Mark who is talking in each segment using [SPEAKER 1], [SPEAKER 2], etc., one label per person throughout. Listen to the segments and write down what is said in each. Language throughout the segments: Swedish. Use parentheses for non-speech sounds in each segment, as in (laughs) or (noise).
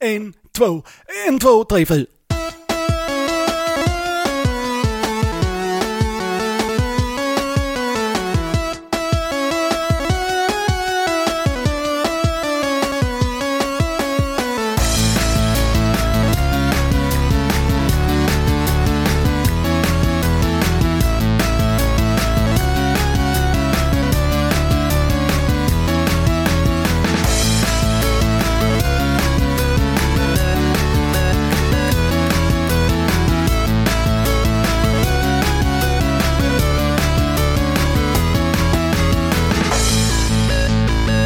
[SPEAKER 1] en, två, en, två, tre, fyra.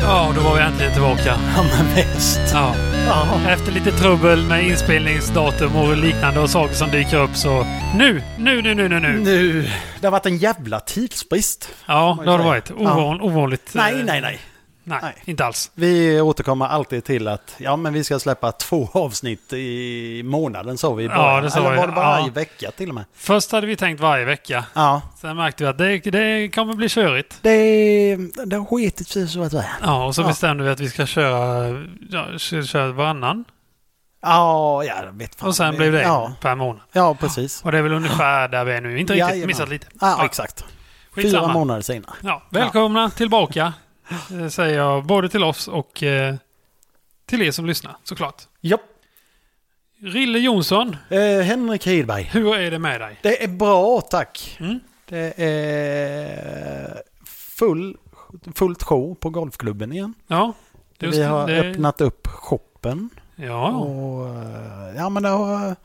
[SPEAKER 2] Ja, då var vi äntligen tillbaka.
[SPEAKER 1] Ja, men visst.
[SPEAKER 2] Ja.
[SPEAKER 1] Ja.
[SPEAKER 2] Efter lite trubbel med inspelningsdatum och liknande och saker som dyker upp så nu, nu, nu, nu, nu, nu.
[SPEAKER 1] Nu, det har varit en jävla tidsbrist.
[SPEAKER 2] Ja,
[SPEAKER 1] man
[SPEAKER 2] det har det
[SPEAKER 1] säga.
[SPEAKER 2] varit. Ovan, Ovanligt.
[SPEAKER 1] Nej,
[SPEAKER 2] eh,
[SPEAKER 1] nej, nej.
[SPEAKER 2] nej.
[SPEAKER 1] nej.
[SPEAKER 2] inte alls.
[SPEAKER 1] Vi återkommer alltid till att ja, men vi ska släppa två avsnitt i månaden, sa vi i
[SPEAKER 2] Ja,
[SPEAKER 1] början.
[SPEAKER 2] det sa
[SPEAKER 1] Eller
[SPEAKER 2] vi.
[SPEAKER 1] var det bara
[SPEAKER 2] Ja.
[SPEAKER 1] i vecka till och med?
[SPEAKER 2] Först hade vi tänkt varje vecka.
[SPEAKER 1] Ja,
[SPEAKER 2] Sen märkte vi att det, det kommer bli körigt.
[SPEAKER 1] det, det har skitit sig så att säga.
[SPEAKER 2] Ja, och så
[SPEAKER 1] Ja.
[SPEAKER 2] bestämde vi att vi ska köra, ja, ska köra varannan.
[SPEAKER 1] Ja, ja, jag vet fan.
[SPEAKER 2] Och sen blev det
[SPEAKER 1] Ja,
[SPEAKER 2] per månad.
[SPEAKER 1] ja precis.
[SPEAKER 2] Och det är väl ungefär där vi är nu. Inte riktigt,
[SPEAKER 1] Jajamän.
[SPEAKER 2] missat lite.
[SPEAKER 1] Ja,
[SPEAKER 2] Ja,
[SPEAKER 1] exakt. Fyra
[SPEAKER 2] skitsamma.
[SPEAKER 1] månader senare.
[SPEAKER 2] Ja, välkomna tillbaka, eh, säger jag både till oss och eh, till er som lyssnar såklart.
[SPEAKER 1] Japp.
[SPEAKER 2] Rille Jonsson,
[SPEAKER 1] Eh, Henrik Hedberg.
[SPEAKER 2] hur är det med dig?
[SPEAKER 1] Det är bra, tack.
[SPEAKER 2] Mm.
[SPEAKER 1] Det är full, fullt show på golfklubben igen.
[SPEAKER 2] Ja,
[SPEAKER 1] Vi har
[SPEAKER 2] det-
[SPEAKER 1] öppnat upp shoppen.
[SPEAKER 2] Ja,
[SPEAKER 1] Och, eh, ja, men det har,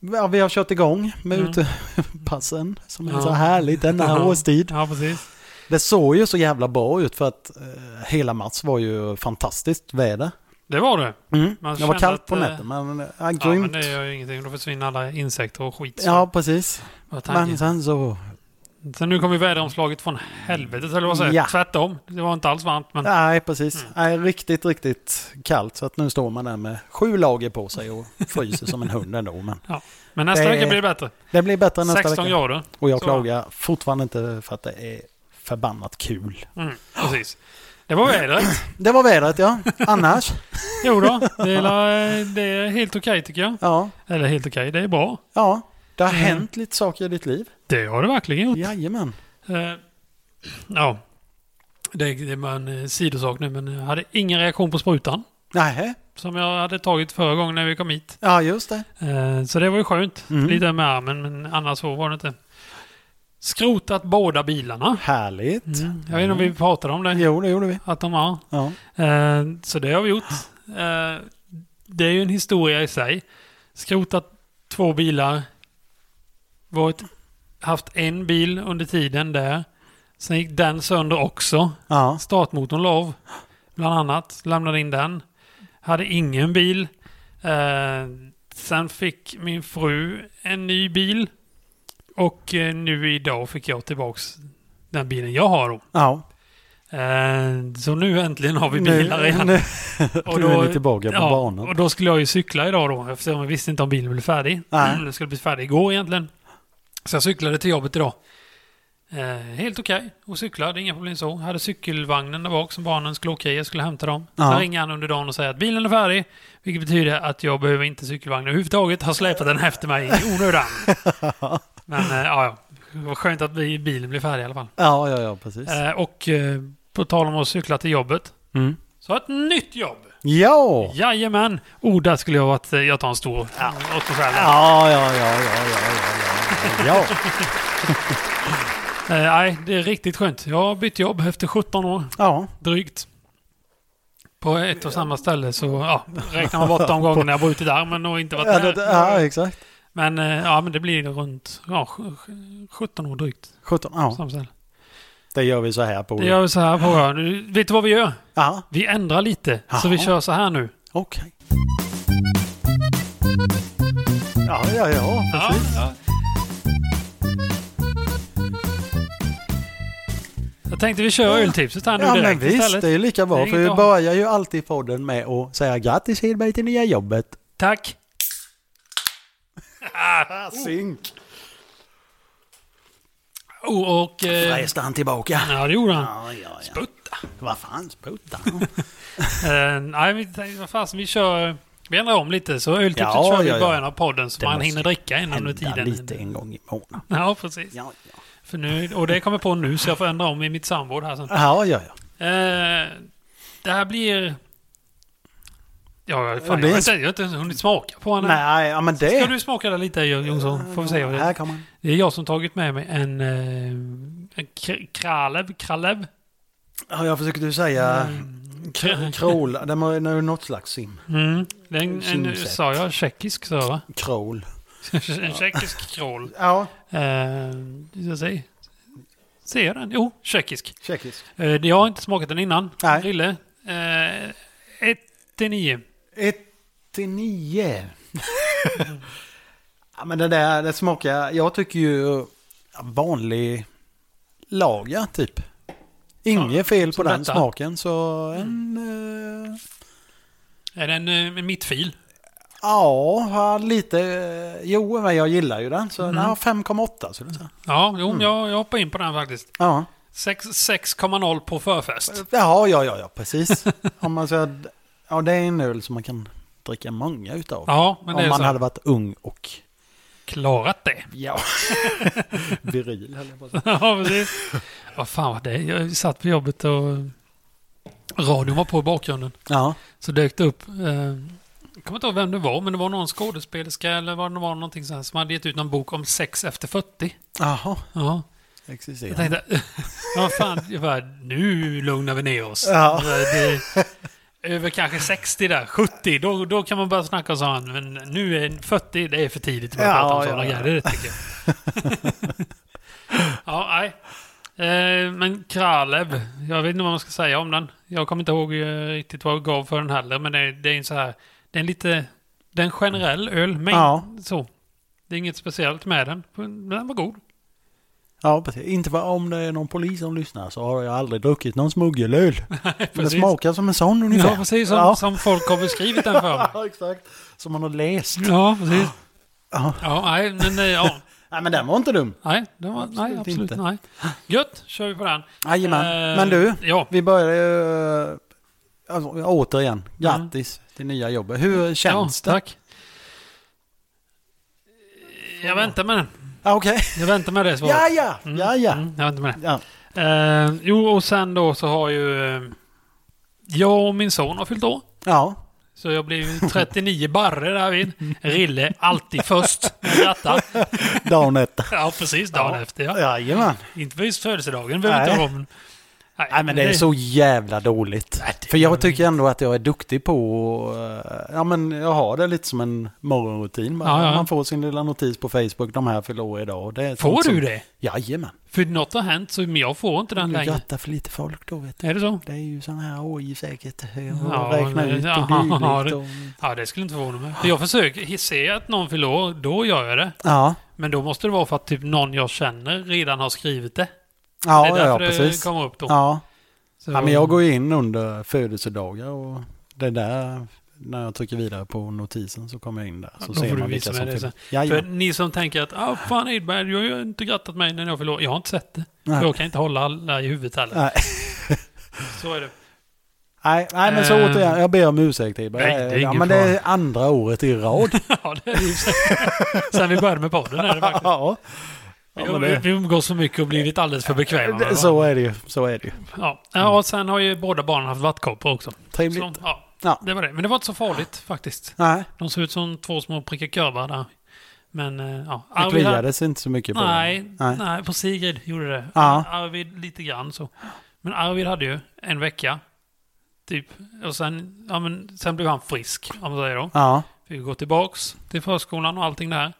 [SPEAKER 1] ja, vi har kört igång med
[SPEAKER 2] Mm.
[SPEAKER 1] (laughs) utepassen som är
[SPEAKER 2] Ja.
[SPEAKER 1] så härligt denna
[SPEAKER 2] Ja.
[SPEAKER 1] årstid.
[SPEAKER 2] ja precis.
[SPEAKER 1] Det såg ju så jävla bra ut för att eh, hela mars var ju fantastiskt väder. Mm.
[SPEAKER 2] Det var det. Man
[SPEAKER 1] Det var
[SPEAKER 2] kände
[SPEAKER 1] kallt
[SPEAKER 2] att,
[SPEAKER 1] på
[SPEAKER 2] eh,
[SPEAKER 1] nätet men eh, ja,
[SPEAKER 2] Ja, men
[SPEAKER 1] grymt.
[SPEAKER 2] det gör ju ingenting. Då försvinner alla insekter och skit. så
[SPEAKER 1] Ja, precis.
[SPEAKER 2] var tanken.
[SPEAKER 1] Men sen så...
[SPEAKER 2] Så nu kom ju väderomslaget från helvetet, eller vad säger jag?
[SPEAKER 1] Ja.
[SPEAKER 2] Tvärtom. Det var inte alls varmt, men
[SPEAKER 1] Nej, precis.
[SPEAKER 2] Mm.
[SPEAKER 1] Nej, riktigt, riktigt kallt. Så att nu står man där med sju lager på sig och fryser som en hund ändå. Men
[SPEAKER 2] Men nästa
[SPEAKER 1] Det-
[SPEAKER 2] vecka blir det bättre.
[SPEAKER 1] det blir bättre nästa
[SPEAKER 2] 16
[SPEAKER 1] vecka.
[SPEAKER 2] grader.
[SPEAKER 1] Och jag
[SPEAKER 2] Så.
[SPEAKER 1] klagar fortfarande inte för att det är förbannat kul.
[SPEAKER 2] Mm, precis. Det var vädret.
[SPEAKER 1] Det var vädret ja.
[SPEAKER 2] (laughs)
[SPEAKER 1] Annars?
[SPEAKER 2] Jo då, det är, la- det är helt okej tycker jag.
[SPEAKER 1] ja.
[SPEAKER 2] Eller helt okej, det är bra.
[SPEAKER 1] Ja. Det har
[SPEAKER 2] Mm.
[SPEAKER 1] hänt lite saker i ditt liv.
[SPEAKER 2] Det har det verkligen gjort.
[SPEAKER 1] Jajamän.
[SPEAKER 2] Eh, ja. Det, det var en eh, sidosak nu, men jag hade ingen reaktion på sprutan.
[SPEAKER 1] Nähä.
[SPEAKER 2] Som jag hade tagit förra gången när vi kom hit.
[SPEAKER 1] Ja, just det.
[SPEAKER 2] Eh, så det var ju skönt.
[SPEAKER 1] Mm.
[SPEAKER 2] Lite med armen, men annars så var det inte. Skrotat båda bilarna.
[SPEAKER 1] Härligt.
[SPEAKER 2] Mm. Jag vet inte om vi pratade om det.
[SPEAKER 1] Jo, det gjorde vi.
[SPEAKER 2] Att de har.
[SPEAKER 1] Ja.
[SPEAKER 2] Eh, så det har vi gjort. Eh, det är ju en historia i sig. Skrotat två bilar. Varit, haft en bil under tiden där. Sen gick den sönder också.
[SPEAKER 1] Ja.
[SPEAKER 2] Startmotorn la av, bland annat. Lämnade in den. Hade ingen bil. Eh, sen fick min fru en ny bil. Och eh, nu idag fick jag tillbaks den bilen jag har då.
[SPEAKER 1] Ja.
[SPEAKER 2] Eh, så nu äntligen har vi bilar
[SPEAKER 1] nu,
[SPEAKER 2] igen.
[SPEAKER 1] nu, (laughs)
[SPEAKER 2] Och
[SPEAKER 1] nu
[SPEAKER 2] då-
[SPEAKER 1] är ni tillbaka på banan.
[SPEAKER 2] och då skulle jag ju cykla idag då eftersom jag visste inte om bilen blev färdig.
[SPEAKER 1] Nej.
[SPEAKER 2] Den skulle bli färdig igår egentligen. Så jag cyklade till jobbet idag. Eh, helt okej och cyklade, inga problem så. Hade cykelvagnen där bak som barnen skulle åka i. Jag skulle hämta dem.
[SPEAKER 1] Ja.
[SPEAKER 2] Sen ringer han under dagen och säger att bilen är färdig. Vilket betyder att jag behöver inte cykelvagnen överhuvudtaget. Har släpat den efter mig
[SPEAKER 1] (laughs)
[SPEAKER 2] i onödan. Men eh, ja, ja. Det var skönt att vi- bilen blev färdig i alla fall.
[SPEAKER 1] Ja, ja, ja, precis.
[SPEAKER 2] Eh, och eh, på tal om att cykla till jobbet.
[SPEAKER 1] Mm.
[SPEAKER 2] Så ett nytt jobb!
[SPEAKER 1] Ja!
[SPEAKER 2] Jajamän! Oh, där skulle jag ha varit... Jag tar en stor ja. åt mig själv.
[SPEAKER 1] Ja, ja, ja, ja, ja, ja, ja, ja.
[SPEAKER 2] Eh, nej, det är riktigt skönt. Jag har bytt jobb efter 17 år,
[SPEAKER 1] Ja,
[SPEAKER 2] drygt. På ett och samma ställe så ja, räknar
[SPEAKER 1] (laughs)
[SPEAKER 2] man bort de gångerna jag brutit armen och inte varit
[SPEAKER 1] ja, det,
[SPEAKER 2] där.
[SPEAKER 1] ja exakt.
[SPEAKER 2] Men, eh, ja, men det blir runt ja, sj- sj- 17 år drygt.
[SPEAKER 1] 17, ja.
[SPEAKER 2] Samma ställe.
[SPEAKER 1] Det gör vi så här på.
[SPEAKER 2] Det gör vi så här på ön. Vet du vad vi gör?
[SPEAKER 1] Ja,
[SPEAKER 2] Vi ändrar lite. Så vi
[SPEAKER 1] Jaha.
[SPEAKER 2] kör så här nu.
[SPEAKER 1] okej. Ja, ja, ja,
[SPEAKER 2] Ja,
[SPEAKER 1] precis.
[SPEAKER 2] ja. Jag tänkte vi kör öltipset här nu
[SPEAKER 1] Ja, men
[SPEAKER 2] direkt
[SPEAKER 1] visst,
[SPEAKER 2] istället.
[SPEAKER 1] det är ju lika
[SPEAKER 2] Det är
[SPEAKER 1] bra. För
[SPEAKER 2] inget
[SPEAKER 1] vi
[SPEAKER 2] att-
[SPEAKER 1] börjar ju alltid podden med att säga grattis Hedberg till nya jobbet.
[SPEAKER 2] Tack!
[SPEAKER 1] Zink!
[SPEAKER 2] Oh, och... Eh,
[SPEAKER 1] Fräste han tillbaka.
[SPEAKER 2] ja, det gjorde han.
[SPEAKER 1] Ja, ja, ja.
[SPEAKER 2] Sputta.
[SPEAKER 1] Vad fan, spruta.
[SPEAKER 2] Eh, nej, vi, tänkte, vad fasen, vi kör... Vi ändrar om lite, så öltipset
[SPEAKER 1] Ja,
[SPEAKER 2] kör vi
[SPEAKER 1] ja,
[SPEAKER 2] i
[SPEAKER 1] ja.
[SPEAKER 2] början av podden så
[SPEAKER 1] Det
[SPEAKER 2] man
[SPEAKER 1] måste
[SPEAKER 2] hinner dricka innan under
[SPEAKER 1] Hända
[SPEAKER 2] tiden.
[SPEAKER 1] lite en gång i månaden.
[SPEAKER 2] Ja, precis.
[SPEAKER 1] Ja, ja.
[SPEAKER 2] För nu, och det kommer jag på nu, så jag får ändra om i mitt samråd här sen.
[SPEAKER 1] Ja, ja, ja.
[SPEAKER 2] Eh, det här blir... Ja, fan,
[SPEAKER 1] blir-
[SPEAKER 2] jag, har inte, jag har inte ens hunnit smaka på den. än.
[SPEAKER 1] Nej, ja, men det...
[SPEAKER 2] Ska du smaka det lite, Jörgen Jonsson? Får vi se. vad
[SPEAKER 1] Eh. Här
[SPEAKER 2] Det
[SPEAKER 1] kan man.
[SPEAKER 2] Det är jag som tagit med mig en... eh, en kr- Kralev? Kralev?
[SPEAKER 1] Ja, jag försökte ju säga
[SPEAKER 2] Mm, kr-
[SPEAKER 1] krål. Det var det var något slags sim.
[SPEAKER 2] Mm, det är en, en,
[SPEAKER 1] Synsätt.
[SPEAKER 2] sa jag tjeckisk sa jag va?
[SPEAKER 1] Krål.
[SPEAKER 2] En tjeckisk krål.
[SPEAKER 1] Ja,
[SPEAKER 2] Eh, jag säger. Ser jag den? Jo, tjeckisk.
[SPEAKER 1] tjeckisk.
[SPEAKER 2] Eh, det- jag har inte smakat den innan.
[SPEAKER 1] Nej.
[SPEAKER 2] Rille. Eh, 1 till 9.
[SPEAKER 1] 89. (laughs) ja, men det där, det smakar, jag tycker ju vanlig lager typ. Inget
[SPEAKER 2] Ja,
[SPEAKER 1] fel på
[SPEAKER 2] som
[SPEAKER 1] den
[SPEAKER 2] detta.
[SPEAKER 1] smaken så en... eh,
[SPEAKER 2] Är den eh, en mittfil?
[SPEAKER 1] ja, ja, lite... eh, Jo, men jag gillar ju den. Så mm. 5,8 skulle jag säga.
[SPEAKER 2] Ja, jo,
[SPEAKER 1] Mm.
[SPEAKER 2] jag, jag hoppar in på den faktiskt.
[SPEAKER 1] Ja.
[SPEAKER 2] Sex- 6,0 på
[SPEAKER 1] Eh,
[SPEAKER 2] förfest.
[SPEAKER 1] Jaha, ja, ja, ja, (laughs) precis. Om man säger, ja, det är en öl som man kan dricka många utav.
[SPEAKER 2] Ja, men det
[SPEAKER 1] Om
[SPEAKER 2] är
[SPEAKER 1] man
[SPEAKER 2] så.
[SPEAKER 1] hade varit ung och...
[SPEAKER 2] Klarat det.
[SPEAKER 1] Ja. (laughs) Viril, höll jag på att säga.
[SPEAKER 2] (laughs) ja, precis. Vad fan var det? Jag satt på jobbet och radion var på i bakgrunden.
[SPEAKER 1] Ja.
[SPEAKER 2] Så dök det upp, eh, jag kommer inte ihåg vem det var, men det var någon skådespelerska eller vad det var någonting så här, som hade gett ut någon bok om sex efter 40.
[SPEAKER 1] Jaha,
[SPEAKER 2] Ja, jag
[SPEAKER 1] existerar.
[SPEAKER 2] tänkte, (laughs) ja vad fan, jag bara, nu lugnar vi ner oss.
[SPEAKER 1] Ja.
[SPEAKER 2] Det, över kanske 60 där, 70, då, då kan man börja snacka och sånt. Men nu är 40, det är för tidigt att börja
[SPEAKER 1] Ja,
[SPEAKER 2] prata om
[SPEAKER 1] ja,
[SPEAKER 2] sådana
[SPEAKER 1] ja.
[SPEAKER 2] grejer, det tycker jag.
[SPEAKER 1] (laughs)
[SPEAKER 2] ja, nej. Eh, men Kralev, jag vet inte vad man ska säga om den. Jag kommer inte ihåg eh, riktigt vad jag gav för den heller, men det, det är en så här, det är en lite, det är en generell öl, men
[SPEAKER 1] Ja.
[SPEAKER 2] så. Det är inget speciellt med den, men den var god.
[SPEAKER 1] Ja, precis. Inte för om det är någon polis som lyssnar så har jag aldrig druckit någon smuggelöl. Men det
[SPEAKER 2] (laughs) precis.
[SPEAKER 1] smakar som en sån ungefär.
[SPEAKER 2] Ja, precis som,
[SPEAKER 1] Ja.
[SPEAKER 2] som folk har beskrivit den för mig.
[SPEAKER 1] (laughs) Ja, exakt. Som man har läst.
[SPEAKER 2] Ja, precis.
[SPEAKER 1] Ja.
[SPEAKER 2] Ja, nej, men nej, ja.
[SPEAKER 1] Nej, men den var inte dum.
[SPEAKER 2] Nej, det var, absolut, nej,
[SPEAKER 1] Absolut
[SPEAKER 2] absolut
[SPEAKER 1] inte.
[SPEAKER 2] nej. Gött, kör vi på den.
[SPEAKER 1] Jajamän.
[SPEAKER 2] Eh,
[SPEAKER 1] Men du,
[SPEAKER 2] Ja,
[SPEAKER 1] vi börjar ju... Alltså, återigen, grattis till nya jobbet. Hur känns
[SPEAKER 2] ja,
[SPEAKER 1] det?
[SPEAKER 2] tack. Jag väntar med den.
[SPEAKER 1] Ja, okej.
[SPEAKER 2] Jag väntar med det svaret.
[SPEAKER 1] Ja, ja,
[SPEAKER 2] Mm,
[SPEAKER 1] ja, ja.
[SPEAKER 2] Mm, jag väntar med det.
[SPEAKER 1] ja.
[SPEAKER 2] Eh, jo, och sen då så har ju... eh, Jag och min son har fyllt år.
[SPEAKER 1] Ja,
[SPEAKER 2] Så jag blev
[SPEAKER 1] (laughs)
[SPEAKER 2] ju 39 barre därvid. Rille, alltid först. med Detta.
[SPEAKER 1] dagen efter.
[SPEAKER 2] Ja, precis. Dagen
[SPEAKER 1] Ja.
[SPEAKER 2] efter, (laughs) ja.
[SPEAKER 1] Jajamän.
[SPEAKER 2] Inte just födelsedagen behöver vi
[SPEAKER 1] Nej.
[SPEAKER 2] inte vara om.
[SPEAKER 1] Nej men det är så jävla dåligt. För jag tycker ändå att jag är duktig på... eh, Ja men jag har det lite som en morgonrutin. bara.
[SPEAKER 2] Ja, ja.
[SPEAKER 1] Man får sin lilla notis på Facebook. De här fyller år idag. Och det är
[SPEAKER 2] Får
[SPEAKER 1] sånt som-
[SPEAKER 2] du det?
[SPEAKER 1] Jajamän.
[SPEAKER 2] För något har hänt, så men jag får inte den
[SPEAKER 1] Du
[SPEAKER 2] längre.
[SPEAKER 1] grattar för lite folk då vet du.
[SPEAKER 2] Är det så?
[SPEAKER 1] Det är ju sån här AI säkert.
[SPEAKER 2] Ja,
[SPEAKER 1] Ja, räkna
[SPEAKER 2] men-
[SPEAKER 1] ut och
[SPEAKER 2] ja, ja,
[SPEAKER 1] dylikt.
[SPEAKER 2] det-
[SPEAKER 1] Och...
[SPEAKER 2] Ja, det skulle inte förvåna mig. För jag försöker, ser jag att någon fyller år, då gör jag det.
[SPEAKER 1] Ja,
[SPEAKER 2] Men då måste det vara för att typ någon jag känner redan har skrivit det. det
[SPEAKER 1] ja,
[SPEAKER 2] är
[SPEAKER 1] ja,
[SPEAKER 2] därför
[SPEAKER 1] ja precis.
[SPEAKER 2] det kommer upp då.
[SPEAKER 1] Ja.
[SPEAKER 2] Så-
[SPEAKER 1] ja men jag går ju in under födelsedagar och det där. När jag trycker vidare på notisen så kommer jag in där.
[SPEAKER 2] Ja,
[SPEAKER 1] Så
[SPEAKER 2] då
[SPEAKER 1] ser
[SPEAKER 2] får du
[SPEAKER 1] man
[SPEAKER 2] visa
[SPEAKER 1] vilka
[SPEAKER 2] mig
[SPEAKER 1] som
[SPEAKER 2] det
[SPEAKER 1] fyller.
[SPEAKER 2] För
[SPEAKER 1] Jajamän.
[SPEAKER 2] ni som tänker att ah, fan Edberg, du har ju inte grattat mig när jag fyller år. Jag har inte sett det.
[SPEAKER 1] Nej.
[SPEAKER 2] Jag kan inte hålla alla i huvudet heller.
[SPEAKER 1] Nej.
[SPEAKER 2] Så är det. (laughs)
[SPEAKER 1] Nej, nej men så
[SPEAKER 2] Eh,
[SPEAKER 1] återigen, jag ber om ursäkt Iber.
[SPEAKER 2] nej, det är
[SPEAKER 1] ja,
[SPEAKER 2] ingen
[SPEAKER 1] men det är andra året i
[SPEAKER 2] (laughs)
[SPEAKER 1] rad.
[SPEAKER 2] ja, det är det ju. Sen vi började med podden är det faktiskt.
[SPEAKER 1] ja,
[SPEAKER 2] Vi-
[SPEAKER 1] men det-
[SPEAKER 2] Vi umgås så mycket och blivit alldeles för bekväma.
[SPEAKER 1] det, så är det ju. Så är det ju.
[SPEAKER 2] Ja. ja, och sen har ju båda barnen haft vattkoppor också.
[SPEAKER 1] Trevligt.
[SPEAKER 2] Så, ja,
[SPEAKER 1] Ja.
[SPEAKER 2] det var det. Men det var inte så farligt faktiskt.
[SPEAKER 1] Nej,
[SPEAKER 2] De såg ut som två små prickar kurvar där. Men eh, ja,
[SPEAKER 1] det
[SPEAKER 2] Arvid... hade-
[SPEAKER 1] kliades inte så mycket på
[SPEAKER 2] Nej,
[SPEAKER 1] den.
[SPEAKER 2] nej.
[SPEAKER 1] Nej.
[SPEAKER 2] nej, på Sigrid gjorde det.
[SPEAKER 1] Ja.
[SPEAKER 2] Arvid lite grann så. Men Arvid hade ju en vecka, typ. Och sen, ja, men, sen blev han frisk, om man säger då.
[SPEAKER 1] Ja,
[SPEAKER 2] Fick gå tillbaks till förskolan och allting där.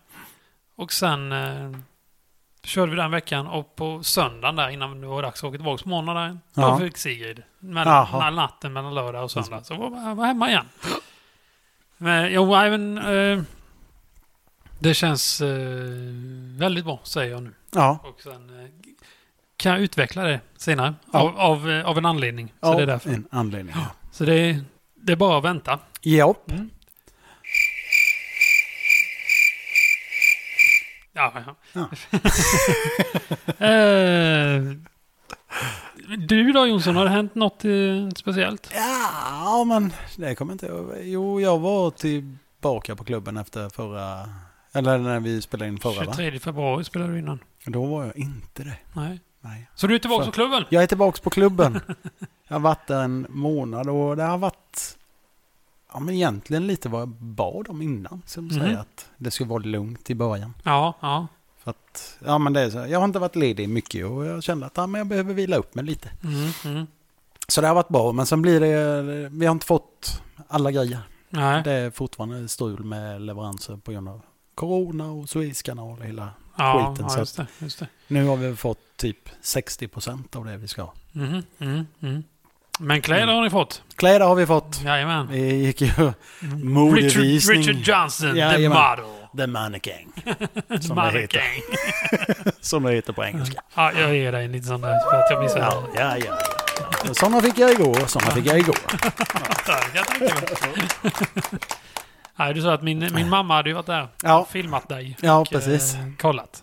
[SPEAKER 2] Och sen eh, körde vi den veckan och på söndagen där innan det var dags att åka tillbaka på måndagen. Då
[SPEAKER 1] Ja.
[SPEAKER 2] fick Sigrid. Mellan,
[SPEAKER 1] Jaha.
[SPEAKER 2] mellan natten mellan lördag och söndag. Så var jag var hemma igen. Men jo, även, eh, det känns eh, väldigt bra säger jag nu.
[SPEAKER 1] ja.
[SPEAKER 2] Och sen eh, kan jag utveckla det senare.
[SPEAKER 1] Ja.
[SPEAKER 2] Av, av, eh, av en anledning. Så
[SPEAKER 1] Av
[SPEAKER 2] det är därför.
[SPEAKER 1] en anledning.
[SPEAKER 2] Så det är, det är bara att vänta.
[SPEAKER 1] Ja.
[SPEAKER 2] (laughs) Ja, ja. Eh, Du då Jonsson, har det hänt något eh, speciellt?
[SPEAKER 1] Ja, men det kommer inte jag Jo, jag var tillbaka på klubben efter förra... Eller när vi spelade in förra, va?
[SPEAKER 2] 23 februari spelade du innan.
[SPEAKER 1] Då var jag inte det.
[SPEAKER 2] Nej.
[SPEAKER 1] Nej.
[SPEAKER 2] Så du är tillbaka
[SPEAKER 1] Så.
[SPEAKER 2] på klubben?
[SPEAKER 1] Jag är tillbaka på klubben. Jag har varit där en månad och det har varit... Ja, men egentligen lite vad jag bad om innan. Som
[SPEAKER 2] Mhm.
[SPEAKER 1] säger att det skulle vara lugnt i början.
[SPEAKER 2] Ja, ja.
[SPEAKER 1] För att, ja men det är så. Jag har inte varit ledig mycket och jag kände att ja, men jag behöver vila upp mig lite.
[SPEAKER 2] Mm, mm.
[SPEAKER 1] Så det har varit bra, men sen blir det... Vi har inte fått alla grejer.
[SPEAKER 2] Nej.
[SPEAKER 1] Det är fortfarande strul med leveranser på grund av corona och Suezkanal och hela.
[SPEAKER 2] ja,
[SPEAKER 1] skiten,
[SPEAKER 2] ja,
[SPEAKER 1] så
[SPEAKER 2] just det. Just det.
[SPEAKER 1] Nu har vi fått typ 60% av det vi ska ha.
[SPEAKER 2] Mhm, mm, mm. Men kläder
[SPEAKER 1] Mm.
[SPEAKER 2] har ni fått?
[SPEAKER 1] Kläder har vi fått.
[SPEAKER 2] Jajamän.
[SPEAKER 1] Vi gick ju
[SPEAKER 2] Richard,
[SPEAKER 1] modevisning.
[SPEAKER 2] Richard Johnson, the
[SPEAKER 1] Jajamän.
[SPEAKER 2] model.
[SPEAKER 1] The Mannequin, Som det heter.
[SPEAKER 2] Mannequin.
[SPEAKER 1] som det heter på engelska.
[SPEAKER 2] Ja, jag ger dig en liten sån där för att jag missade.
[SPEAKER 1] Ja, ja, ja. ja. Sådana fick jag igår och sådana fick jag igår.
[SPEAKER 2] Tack, jag tackar. Nej, du sa att min, min mamma hade ju varit där
[SPEAKER 1] Ja.
[SPEAKER 2] och filmat dig.
[SPEAKER 1] Ja,
[SPEAKER 2] och,
[SPEAKER 1] precis.
[SPEAKER 2] eh, kollat.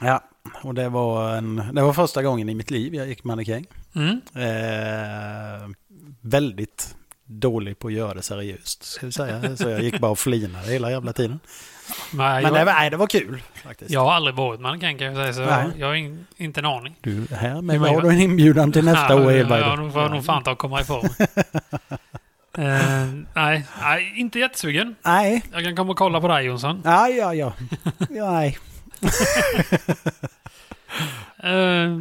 [SPEAKER 1] Ja, och det var, en, det var första gången i mitt liv jag gick mannekäng.
[SPEAKER 2] Mm.
[SPEAKER 1] Eh, väldigt dålig på att göra det seriöst, ska vi säga. Så jag gick bara och flinade hela jävla tiden.
[SPEAKER 2] Men,
[SPEAKER 1] Men det
[SPEAKER 2] jag,
[SPEAKER 1] var, nej, det var kul faktiskt.
[SPEAKER 2] jag har aldrig varit mannekäng kan jag säga, så
[SPEAKER 1] Nej.
[SPEAKER 2] jag har in, inte en aning.
[SPEAKER 1] Du, här med
[SPEAKER 2] Det var
[SPEAKER 1] har
[SPEAKER 2] ju-
[SPEAKER 1] du en inbjudan till nästa år Edvard.
[SPEAKER 2] Ja, nu får jag nog fan ta och
[SPEAKER 1] (laughs)
[SPEAKER 2] komma ifrån. Eh, nej, nej, inte jättesugen.
[SPEAKER 1] Nej,
[SPEAKER 2] Jag kan komma och kolla på dig Jonsson.
[SPEAKER 1] ja, ja, ja. ja nej.
[SPEAKER 2] Eh,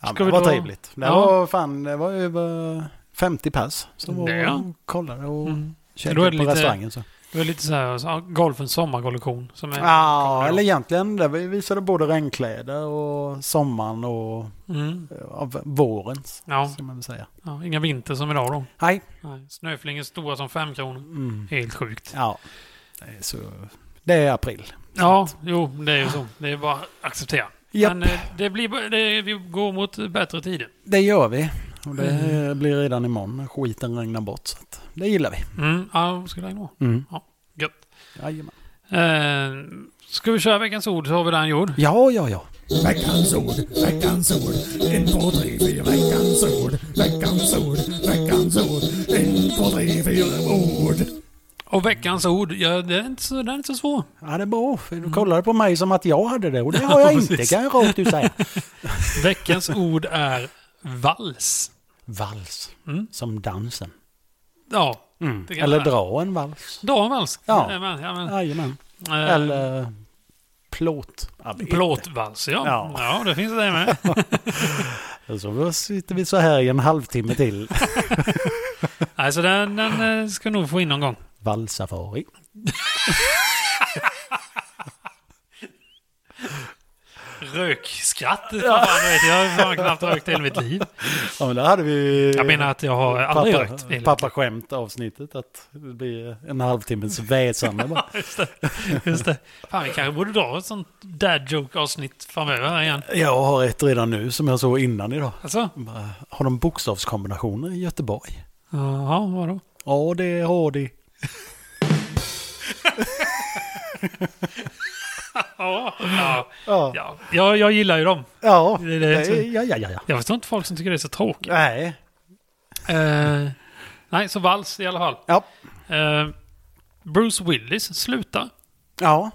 [SPEAKER 1] Ja,
[SPEAKER 2] Ska
[SPEAKER 1] men,
[SPEAKER 2] vi
[SPEAKER 1] det var
[SPEAKER 2] då-
[SPEAKER 1] trevligt. Det
[SPEAKER 2] Ja.
[SPEAKER 1] var fan, det var över 50 pass som var
[SPEAKER 2] Ja.
[SPEAKER 1] och kollade och
[SPEAKER 2] mm. Då är
[SPEAKER 1] käkade
[SPEAKER 2] det
[SPEAKER 1] på
[SPEAKER 2] lite-
[SPEAKER 1] restaurangen. Så.
[SPEAKER 2] Det är lite så här, så, ja, golfens sommarkollektion. Som är,
[SPEAKER 1] Ja, Ah, eller egentligen, där vi visade både regnkläder och sommaren och
[SPEAKER 2] mm.
[SPEAKER 1] eh, av vårens,
[SPEAKER 2] ja,
[SPEAKER 1] ska man väl säga.
[SPEAKER 2] ja, inga vinter som idag då.
[SPEAKER 1] Nej.
[SPEAKER 2] Nej, snöflingor stora som fem kronor.
[SPEAKER 1] Mm.
[SPEAKER 2] Helt sjukt.
[SPEAKER 1] Ja, det är, så, det är april.
[SPEAKER 2] Ja, jo, det är ju så. Det är bara att acceptera.
[SPEAKER 1] Japp.
[SPEAKER 2] Men eh, det blir, det, vi går mot bättre tider.
[SPEAKER 1] Det gör vi. Och det eh, blir redan imorgon när skiten regnar bort. Så att det gillar vi.
[SPEAKER 2] Mm, ja, vad skulle jag nå?
[SPEAKER 1] Mm.
[SPEAKER 2] Gött.
[SPEAKER 1] Jajamän.
[SPEAKER 2] Eh, ska vi köra veckans ord så har vi den gjord.
[SPEAKER 1] Ja, ja, ja.
[SPEAKER 3] Veckans ord, veckans ord, en, två, tre, fyra, veckans ord, veckans ord, veckans ord, en, två, tre, fyra, ord.
[SPEAKER 2] Och veckans ord, ja, det är inte så, den är inte så svår.
[SPEAKER 1] Ja, det är bra. För du kollade på mig som att jag hade det och det har jag inte,
[SPEAKER 2] Mm. precis.
[SPEAKER 1] kan jag rakt ut
[SPEAKER 2] (laughs)
[SPEAKER 1] säga. (laughs)
[SPEAKER 2] Veckans ord är vals.
[SPEAKER 1] Vals.
[SPEAKER 2] Mm.
[SPEAKER 1] Som dansen.
[SPEAKER 2] Ja, det kan
[SPEAKER 1] Eller
[SPEAKER 2] vara.
[SPEAKER 1] dra en vals.
[SPEAKER 2] Dra en vals.
[SPEAKER 1] Ja.
[SPEAKER 2] Jajamän, jajamän.
[SPEAKER 1] Jajamän.
[SPEAKER 2] Eh,
[SPEAKER 1] Eller plåt.
[SPEAKER 2] Plåtvals, ja. ja.
[SPEAKER 1] Ja.
[SPEAKER 2] Ja, det finns det med.
[SPEAKER 1] Så då sitter vi så här i en halvtimme
[SPEAKER 2] (laughs)
[SPEAKER 1] till.
[SPEAKER 2] alltså den, den eh, ska nog få in någon gång.
[SPEAKER 1] Valsafari.
[SPEAKER 2] Rökskratt. Ja. Fan, vet, jag. jag har fan knappt rökt i hela mitt liv.
[SPEAKER 1] Ja, men där hade vi...
[SPEAKER 2] Jag menar att jag har aldrig rökt. i hela-
[SPEAKER 1] pappa skämt avsnittet att det blir en halvtimmes väsande
[SPEAKER 2] (laughs)
[SPEAKER 1] bara.
[SPEAKER 2] Just det. Just det. Fan, vi kanske borde dra ett sånt dad joke avsnitt framöver här igen.
[SPEAKER 1] Jag har ett redan nu som jag såg innan idag.
[SPEAKER 2] Alltså?
[SPEAKER 1] Bara, Har de bokstavskombinationer i Göteborg?
[SPEAKER 2] Jaha, vadå?
[SPEAKER 1] Ja, det har de.
[SPEAKER 2] Ja, ja.
[SPEAKER 1] Ja, ja,
[SPEAKER 2] ja. Jag, jag gillar ju dem.
[SPEAKER 1] ja,
[SPEAKER 2] Det är det som-
[SPEAKER 1] ja, ja, ja. ja.
[SPEAKER 2] Jag förstår inte folk som tycker det är så tråkigt.
[SPEAKER 1] Nej.
[SPEAKER 2] Eh, nej, så vals i alla fall.
[SPEAKER 1] Ja.
[SPEAKER 2] Eh, Bruce Willis slutar.
[SPEAKER 1] Ja.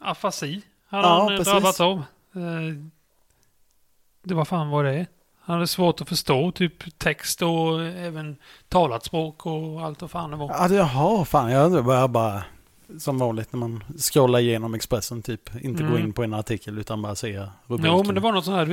[SPEAKER 2] Afasi hade
[SPEAKER 1] Ja,
[SPEAKER 2] han eh,
[SPEAKER 1] precis.
[SPEAKER 2] drabbats av. Eh, det var fan vad det är. Han hade svårt att förstå typ text och även talat språk och allt vad fan det var.
[SPEAKER 1] ja det, jaha, fan. Jag börjar bara som vanligt när man scrollar igenom Expressen typ. Inte gå
[SPEAKER 2] Mm.
[SPEAKER 1] in på en artikel utan bara se rubriken.
[SPEAKER 2] Jo, men det var något sånt här.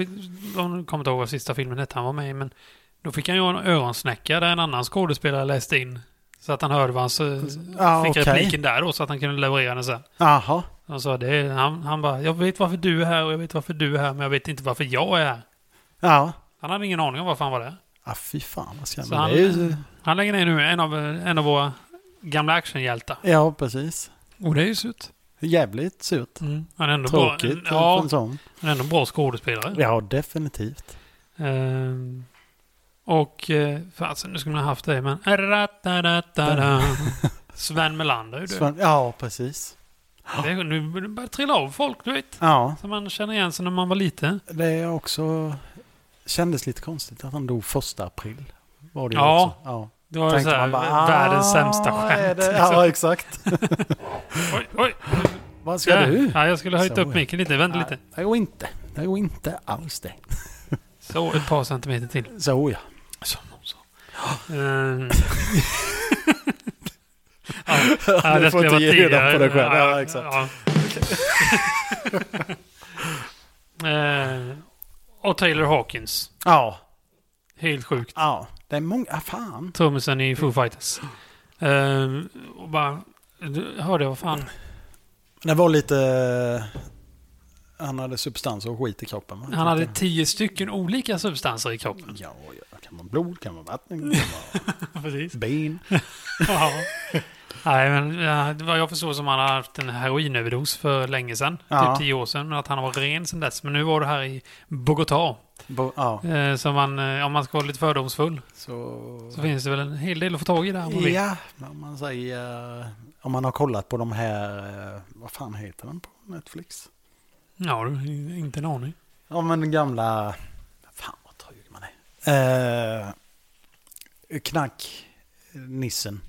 [SPEAKER 2] Jag kommer inte ihåg vad sista filmen hette han var med i, men då fick han ju en öronsnäcka där en annan skådespelare läste in. Så att han hörde vad han så,
[SPEAKER 1] Ja,
[SPEAKER 2] fick
[SPEAKER 1] Ah, okej.
[SPEAKER 2] repliken där då, så att han kunde leverera den sen.
[SPEAKER 1] Jaha.
[SPEAKER 2] Han sa det, är- han, han bara, jag vet varför du är här och jag vet varför du är här, men jag vet inte varför jag är här.
[SPEAKER 1] Ja.
[SPEAKER 2] Han hade ingen aning om varför han var där.
[SPEAKER 1] Ah, fy fan vad
[SPEAKER 2] Så
[SPEAKER 1] skrämmande.
[SPEAKER 2] han,
[SPEAKER 1] Det är ju...
[SPEAKER 2] han lägger ner nu en av, en av våra gamla actionhjältar.
[SPEAKER 1] Ja, precis.
[SPEAKER 2] Och det är ju surt.
[SPEAKER 1] Jävligt surt.
[SPEAKER 2] Mm. Han är ändå
[SPEAKER 1] Tråkigt
[SPEAKER 2] bra. Ja,
[SPEAKER 1] för en sån.
[SPEAKER 2] han är ändå en bra skådespelare.
[SPEAKER 1] Ja, definitivt.
[SPEAKER 2] Ehm, och, eh, fasen nu skulle man ha haft det, men... Ratatatada.
[SPEAKER 1] (laughs)
[SPEAKER 2] Sven Melander ju du.
[SPEAKER 1] Sven, ja, precis.
[SPEAKER 2] Det är- Nu börjar det trilla av folk, du vet.
[SPEAKER 1] Ja,
[SPEAKER 2] Som man känner igen sig när man var liten.
[SPEAKER 1] det är också Kändes lite konstigt att han dog första april. Var det ju
[SPEAKER 2] Ja.
[SPEAKER 1] Också. ja.
[SPEAKER 2] Det var ju
[SPEAKER 1] Tänkte
[SPEAKER 2] så här,
[SPEAKER 1] man bara,
[SPEAKER 2] världens
[SPEAKER 1] "Ah,
[SPEAKER 2] sämsta
[SPEAKER 1] är
[SPEAKER 2] skämt.
[SPEAKER 1] det-
[SPEAKER 2] liksom.
[SPEAKER 1] Ja, exakt.
[SPEAKER 2] Oj, oj.
[SPEAKER 1] Vad ska
[SPEAKER 2] Ja,
[SPEAKER 1] du?
[SPEAKER 2] ja, jag skulle ha höjt
[SPEAKER 1] Så.
[SPEAKER 2] upp micken lite. Vänta
[SPEAKER 1] Nej,
[SPEAKER 2] lite.
[SPEAKER 1] det går inte. Det går inte alls det.
[SPEAKER 2] Så, ett par centimeter till.
[SPEAKER 1] Så oh ja.
[SPEAKER 2] Så, så.
[SPEAKER 1] (laughs)
[SPEAKER 2] Ehm. ja, (laughs) ja,
[SPEAKER 1] Du
[SPEAKER 2] det
[SPEAKER 1] får
[SPEAKER 2] skulle
[SPEAKER 1] inte
[SPEAKER 2] vara
[SPEAKER 1] ge
[SPEAKER 2] tidigare.
[SPEAKER 1] reda på det själv. Ja,
[SPEAKER 2] Ja,
[SPEAKER 1] exakt.
[SPEAKER 2] ja. Ehm, och Taylor Hawkins.
[SPEAKER 1] Ja.
[SPEAKER 2] Helt sjukt.
[SPEAKER 1] Ja. Det är många... Ah, fan.
[SPEAKER 2] Trummisen i Foo Fighters. Ehm, och bara... du- Hörde jag vad fan...
[SPEAKER 1] Det var lite... eh, Han hade substans och skit i kroppen. va?
[SPEAKER 2] Han hade tio stycken olika substanser
[SPEAKER 1] (laughs)
[SPEAKER 2] i kroppen.
[SPEAKER 1] Ja, ja, kan man blod, kan man vatten, kan man
[SPEAKER 2] (laughs) Precis.
[SPEAKER 1] ben.
[SPEAKER 2] Ja. Nej, men ja, det var jag förstår som han har haft en heroinöverdos för länge sedan.
[SPEAKER 1] Ja.
[SPEAKER 2] Typ tio år sedan. men Att han var ren sedan dess. Men nu var det här i Bogotá.
[SPEAKER 1] Bo- Ja,
[SPEAKER 2] Eh, som man, eh, om man ska vara lite fördomsfull
[SPEAKER 1] så...
[SPEAKER 2] så finns det väl en hel del att få tag i där. om man vill.
[SPEAKER 1] Ja, om man säger... eh, Om man har kollat på de här... eh, Vad fan heter den på Netflix?
[SPEAKER 2] ja du, inte en aning.
[SPEAKER 1] Ja, men den gamla... Fan vad trög man är. Eh, Knack-nissen.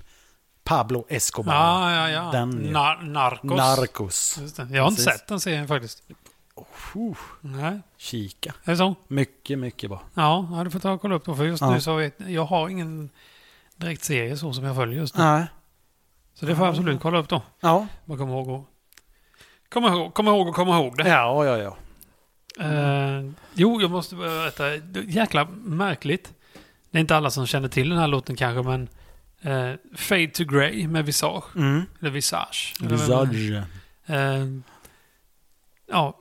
[SPEAKER 1] Pablo Escobar.
[SPEAKER 2] Ja, ja, ja.
[SPEAKER 1] Den, ja.
[SPEAKER 2] Nar- narkos.
[SPEAKER 1] Narcos.
[SPEAKER 2] Just det. Jag har inte
[SPEAKER 1] Precis.
[SPEAKER 2] sett den serien faktiskt.
[SPEAKER 1] Uh,
[SPEAKER 2] Nej,
[SPEAKER 1] kika.
[SPEAKER 2] är det så?
[SPEAKER 1] Mycket, mycket bra.
[SPEAKER 2] Ja, ja, du får ta och kolla upp då. För just
[SPEAKER 1] Ja.
[SPEAKER 2] nu så har jag, jag har ingen direkt serie så som jag följer just nu.
[SPEAKER 1] Nej.
[SPEAKER 2] Så det får jag absolut kolla upp då.
[SPEAKER 1] Ja.
[SPEAKER 2] Bara kom ihåg och... Kom ihåg, kom ihåg och kom ihåg det.
[SPEAKER 1] Ja, ja, ja.
[SPEAKER 2] Eh, jo, jag måste berätta. Det är Jäkla märkligt. Det är inte alla som känner till den här låten kanske, men... eh, Fade to Grey med Visage.
[SPEAKER 1] Mm.
[SPEAKER 2] Eller Visage. eller vad man-
[SPEAKER 1] Visage.
[SPEAKER 2] Eh, ja,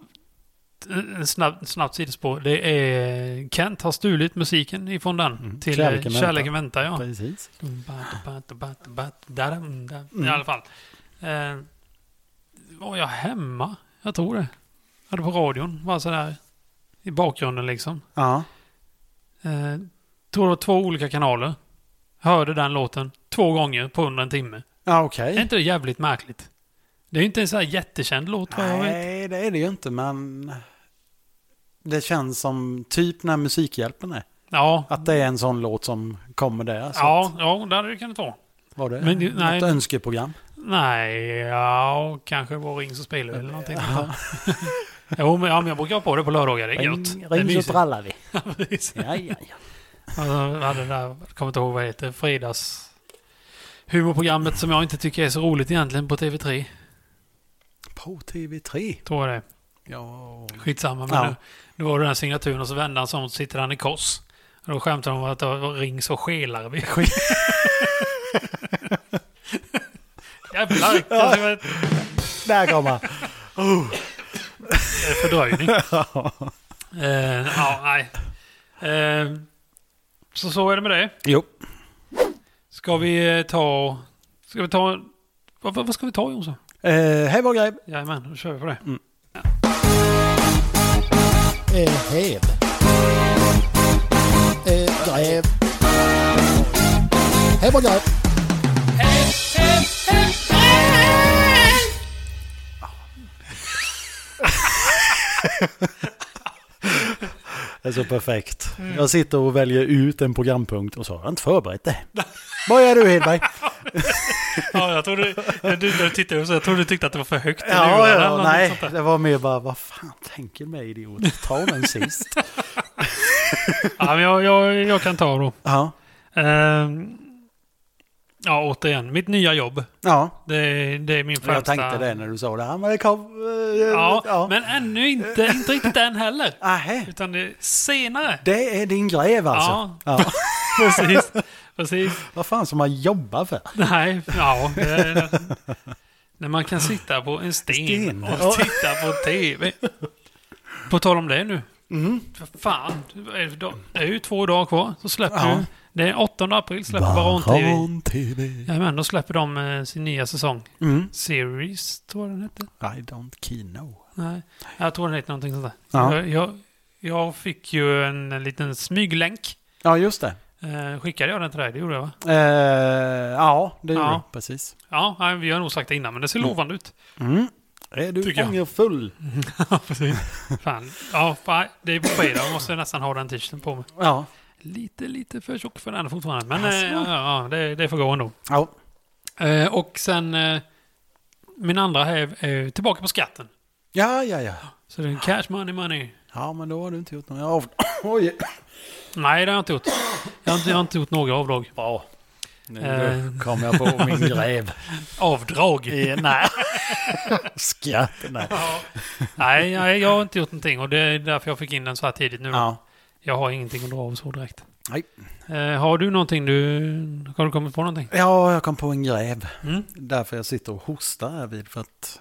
[SPEAKER 2] en snabb, snabbt sidospår. Det är Kent har stulit musiken ifrån den
[SPEAKER 1] Mm.
[SPEAKER 2] till
[SPEAKER 1] Kärleken
[SPEAKER 2] Kärleken
[SPEAKER 1] väntar.
[SPEAKER 2] väntar. Kärleken väntar ja.
[SPEAKER 1] Precis.
[SPEAKER 2] Mm. I alla fall. Eh, var jag hemma? Jag tror det. Jag hade på radion, bara sådär i bakgrunden liksom.
[SPEAKER 1] Ja.
[SPEAKER 2] Eh, tror det var två olika kanaler. Hörde den låten två gånger på under en timme.
[SPEAKER 1] Ja, okej.
[SPEAKER 2] Är inte det jävligt märkligt? Det är ju inte en så här jättekänd låt vad jag vet.
[SPEAKER 1] Nej, det är det ju inte, men det känns som typ när Musikhjälpen är.
[SPEAKER 2] Ja,
[SPEAKER 1] Att det är en sån låt som kommer där. Så
[SPEAKER 2] ja, ja, det hade det kunnat vara.
[SPEAKER 1] att- Var det
[SPEAKER 2] men det-
[SPEAKER 1] något
[SPEAKER 2] nej.
[SPEAKER 1] önskeprogram?
[SPEAKER 2] Nej, ja, kanske var Ring så spelar vi eller någonting. jo, men, ja, men jag brukar ha på det på lördagar. Det är gött. det är
[SPEAKER 1] ring så
[SPEAKER 2] (laughs) mysigt.
[SPEAKER 1] trallar vi.
[SPEAKER 2] Precis.
[SPEAKER 1] Ja, ja, ja.
[SPEAKER 2] Alltså, vi hade det där, jag kommer inte ihåg vad det heter, fredags... Humorprogrammet som jag inte tycker är så roligt egentligen på TV3.
[SPEAKER 1] På TV3.
[SPEAKER 2] Tror jag det
[SPEAKER 1] Ja.
[SPEAKER 2] är. Skitsamma. Men
[SPEAKER 1] Ja.
[SPEAKER 2] nu, nu var det den här signaturen och så vände han sig om och så sitter han i kors. Och då skämtade de om att det var Ring så skelar vi. (laughs) Jävlar! Alltså, det var
[SPEAKER 1] Där kommer han.
[SPEAKER 2] eh, fördröjning. Eh, ja, nej. Eh, så så är det med det.
[SPEAKER 1] (laughs) Jo.
[SPEAKER 2] Ska vi eh, ta... Ska vi ta... Vad, vad vad ska vi ta Jonsson?
[SPEAKER 1] Eh, hej vår grej.
[SPEAKER 2] Jajamän, då kör vi på
[SPEAKER 1] Mm.
[SPEAKER 2] det.
[SPEAKER 3] Eh, hev. Eh, gräv. Hej på gräv.
[SPEAKER 1] Det är så perfekt.
[SPEAKER 2] Mm.
[SPEAKER 1] Jag sitter och väljer ut en programpunkt och så har jag inte förberett
[SPEAKER 2] (laughs)
[SPEAKER 1] det. Vad är du Hedberg?
[SPEAKER 2] Ja, jag trodde... Du, du tittade så jag trodde du tyckte att det var för högt. i
[SPEAKER 1] Ja,
[SPEAKER 2] lurarna
[SPEAKER 1] ja,
[SPEAKER 2] eller något
[SPEAKER 1] nej,
[SPEAKER 2] sånt där.
[SPEAKER 1] det var mer bara vad fan tänker mig idiot? Ta
[SPEAKER 2] (laughs)
[SPEAKER 1] den sist.
[SPEAKER 2] Ja, men jag, jag, jag kan ta då.
[SPEAKER 1] Ja,
[SPEAKER 2] Eh, ja, återigen. Mitt nya jobb.
[SPEAKER 1] ja.
[SPEAKER 2] Det, är- det är min främsta...
[SPEAKER 1] Jag tänkte det när du sa det. Ja, men det kom... eh,
[SPEAKER 2] Ja,
[SPEAKER 1] ja.
[SPEAKER 2] men ännu inte, inte riktigt än heller.
[SPEAKER 1] Ahä,
[SPEAKER 2] Utan det är
[SPEAKER 1] (laughs)
[SPEAKER 2] senare.
[SPEAKER 1] det är din gräv alltså?
[SPEAKER 2] Ja,
[SPEAKER 1] Ja.
[SPEAKER 2] precis. precis.
[SPEAKER 1] Vad fan som man jobbar för?
[SPEAKER 2] Nej, ja. Det är, när man kan sitta på en sten,
[SPEAKER 1] Sten, ja.
[SPEAKER 2] och titta på TV. På tal om det nu.
[SPEAKER 1] Mm.
[SPEAKER 2] För fan, det är ju två dagar kvar. Så släpper
[SPEAKER 1] Ja.
[SPEAKER 2] ju... Det är 8 april släpper Baron-TV.
[SPEAKER 1] TV.
[SPEAKER 2] Jajamän, då släpper de eh, sin nya säsong.
[SPEAKER 1] Mm.
[SPEAKER 2] Series, tror jag den hette.
[SPEAKER 1] I don't kino.
[SPEAKER 2] Nej, jag tror den hette någonting sånt där.
[SPEAKER 1] Ja.
[SPEAKER 2] Jag, jag, jag fick ju en, en liten smyglänk.
[SPEAKER 1] Ja, just det.
[SPEAKER 2] Eh, skickade jag den till dig? Det gjorde jag va?
[SPEAKER 1] Eh, ja, det gjorde
[SPEAKER 2] Ja.
[SPEAKER 1] du. Precis.
[SPEAKER 2] Ja, nej, vi har nog sagt det innan, men det ser lovande ut.
[SPEAKER 1] Mm. Är du
[SPEAKER 2] Tycker jag.
[SPEAKER 1] ångerfull?
[SPEAKER 2] (laughs) Ja, precis. Fan. Ja, fan. det är på fredag. Jag måste nästan ha den t-shirten på mig.
[SPEAKER 1] Ja.
[SPEAKER 2] Lite, lite för tjock för den fortfarande. Men eh, ja, ja, ja, det, det får gå ändå.
[SPEAKER 1] ja.
[SPEAKER 2] Eh, och sen eh, min andra är, är tillbaka på skatten.
[SPEAKER 1] Ja, ja, ja.
[SPEAKER 2] Så det är cash money money.
[SPEAKER 1] Ja, men då har du inte gjort någon av... (clears throat) Oj.
[SPEAKER 2] Nej, det har jag inte gjort. Jag har inte, jag har inte gjort några avdrag.
[SPEAKER 1] Bra. Nu
[SPEAKER 2] Eh.
[SPEAKER 1] kom jag på min gräv.
[SPEAKER 2] Avdrag?
[SPEAKER 1] Eh, Nej. Skatt. Nej.
[SPEAKER 2] Nej, jag, jag har inte gjort någonting och det är därför jag fick in den så här tidigt
[SPEAKER 1] (laughs)
[SPEAKER 2] nu.
[SPEAKER 1] Ja.
[SPEAKER 2] Jag har ingenting att dra av så direkt.
[SPEAKER 1] Nej.
[SPEAKER 2] Eh, har du någonting du... Har du kommit på någonting?
[SPEAKER 1] Ja, jag kom på en gräv.
[SPEAKER 2] Mm.
[SPEAKER 1] Därför jag sitter och hostar här vid för att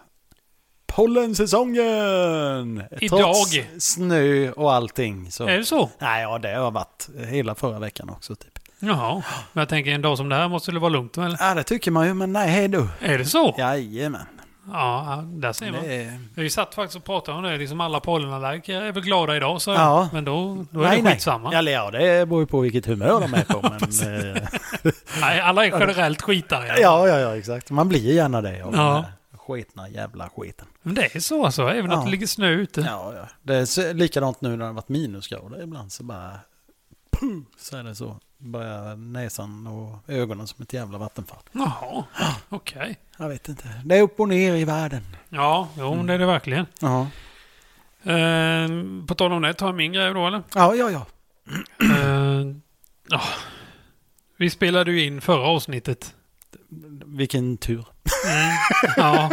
[SPEAKER 1] pollensäsongen!
[SPEAKER 2] Idag.
[SPEAKER 1] snö och allting. Så.
[SPEAKER 2] Är det så?
[SPEAKER 1] Nej, ja det har varit hela förra veckan också typ.
[SPEAKER 2] Jaha. Men jag tänker en dag som det här måste det vara lugnt väl?
[SPEAKER 1] Ja, det tycker man ju, men nej, hej då.
[SPEAKER 2] Är det så?
[SPEAKER 1] Jajamän.
[SPEAKER 2] Ja, där ser man.
[SPEAKER 1] Det är...
[SPEAKER 2] Vi satt faktiskt och pratade om det. Liksom alla pollenallergiker är väl glada idag, så
[SPEAKER 1] Ja.
[SPEAKER 2] Men då, då är det skitsamma.
[SPEAKER 1] Nej. Eller ja, det beror ju på vilket humör de
[SPEAKER 2] (laughs)
[SPEAKER 1] är på. Men, eh,
[SPEAKER 2] Nej, alla är generellt skitare.
[SPEAKER 1] ja, ja, ja, exakt. Man blir gärna det av
[SPEAKER 2] Ja.
[SPEAKER 1] den här skitna jävla skiten.
[SPEAKER 2] Men det är så alltså, även
[SPEAKER 1] Ja.
[SPEAKER 2] att det ligger snö ute.
[SPEAKER 1] Ja, ja. Det är så- likadant nu när det har varit minusgrader ibland så bara... Puh, så är det så. Börjar näsan och ögonen som ett jävla vattenfall.
[SPEAKER 2] Jaha, okej.
[SPEAKER 1] Jag vet inte. Det är upp och ner i världen.
[SPEAKER 2] Ja, jo, men det är det verkligen.
[SPEAKER 1] Ja,
[SPEAKER 2] Eh, på tal om det, tar jag min grej då eller?
[SPEAKER 1] ja, ja. ja.
[SPEAKER 2] Eh, ja. Vi spelade ju in förra avsnittet.
[SPEAKER 1] Vilken tur. Mm.
[SPEAKER 2] Ja,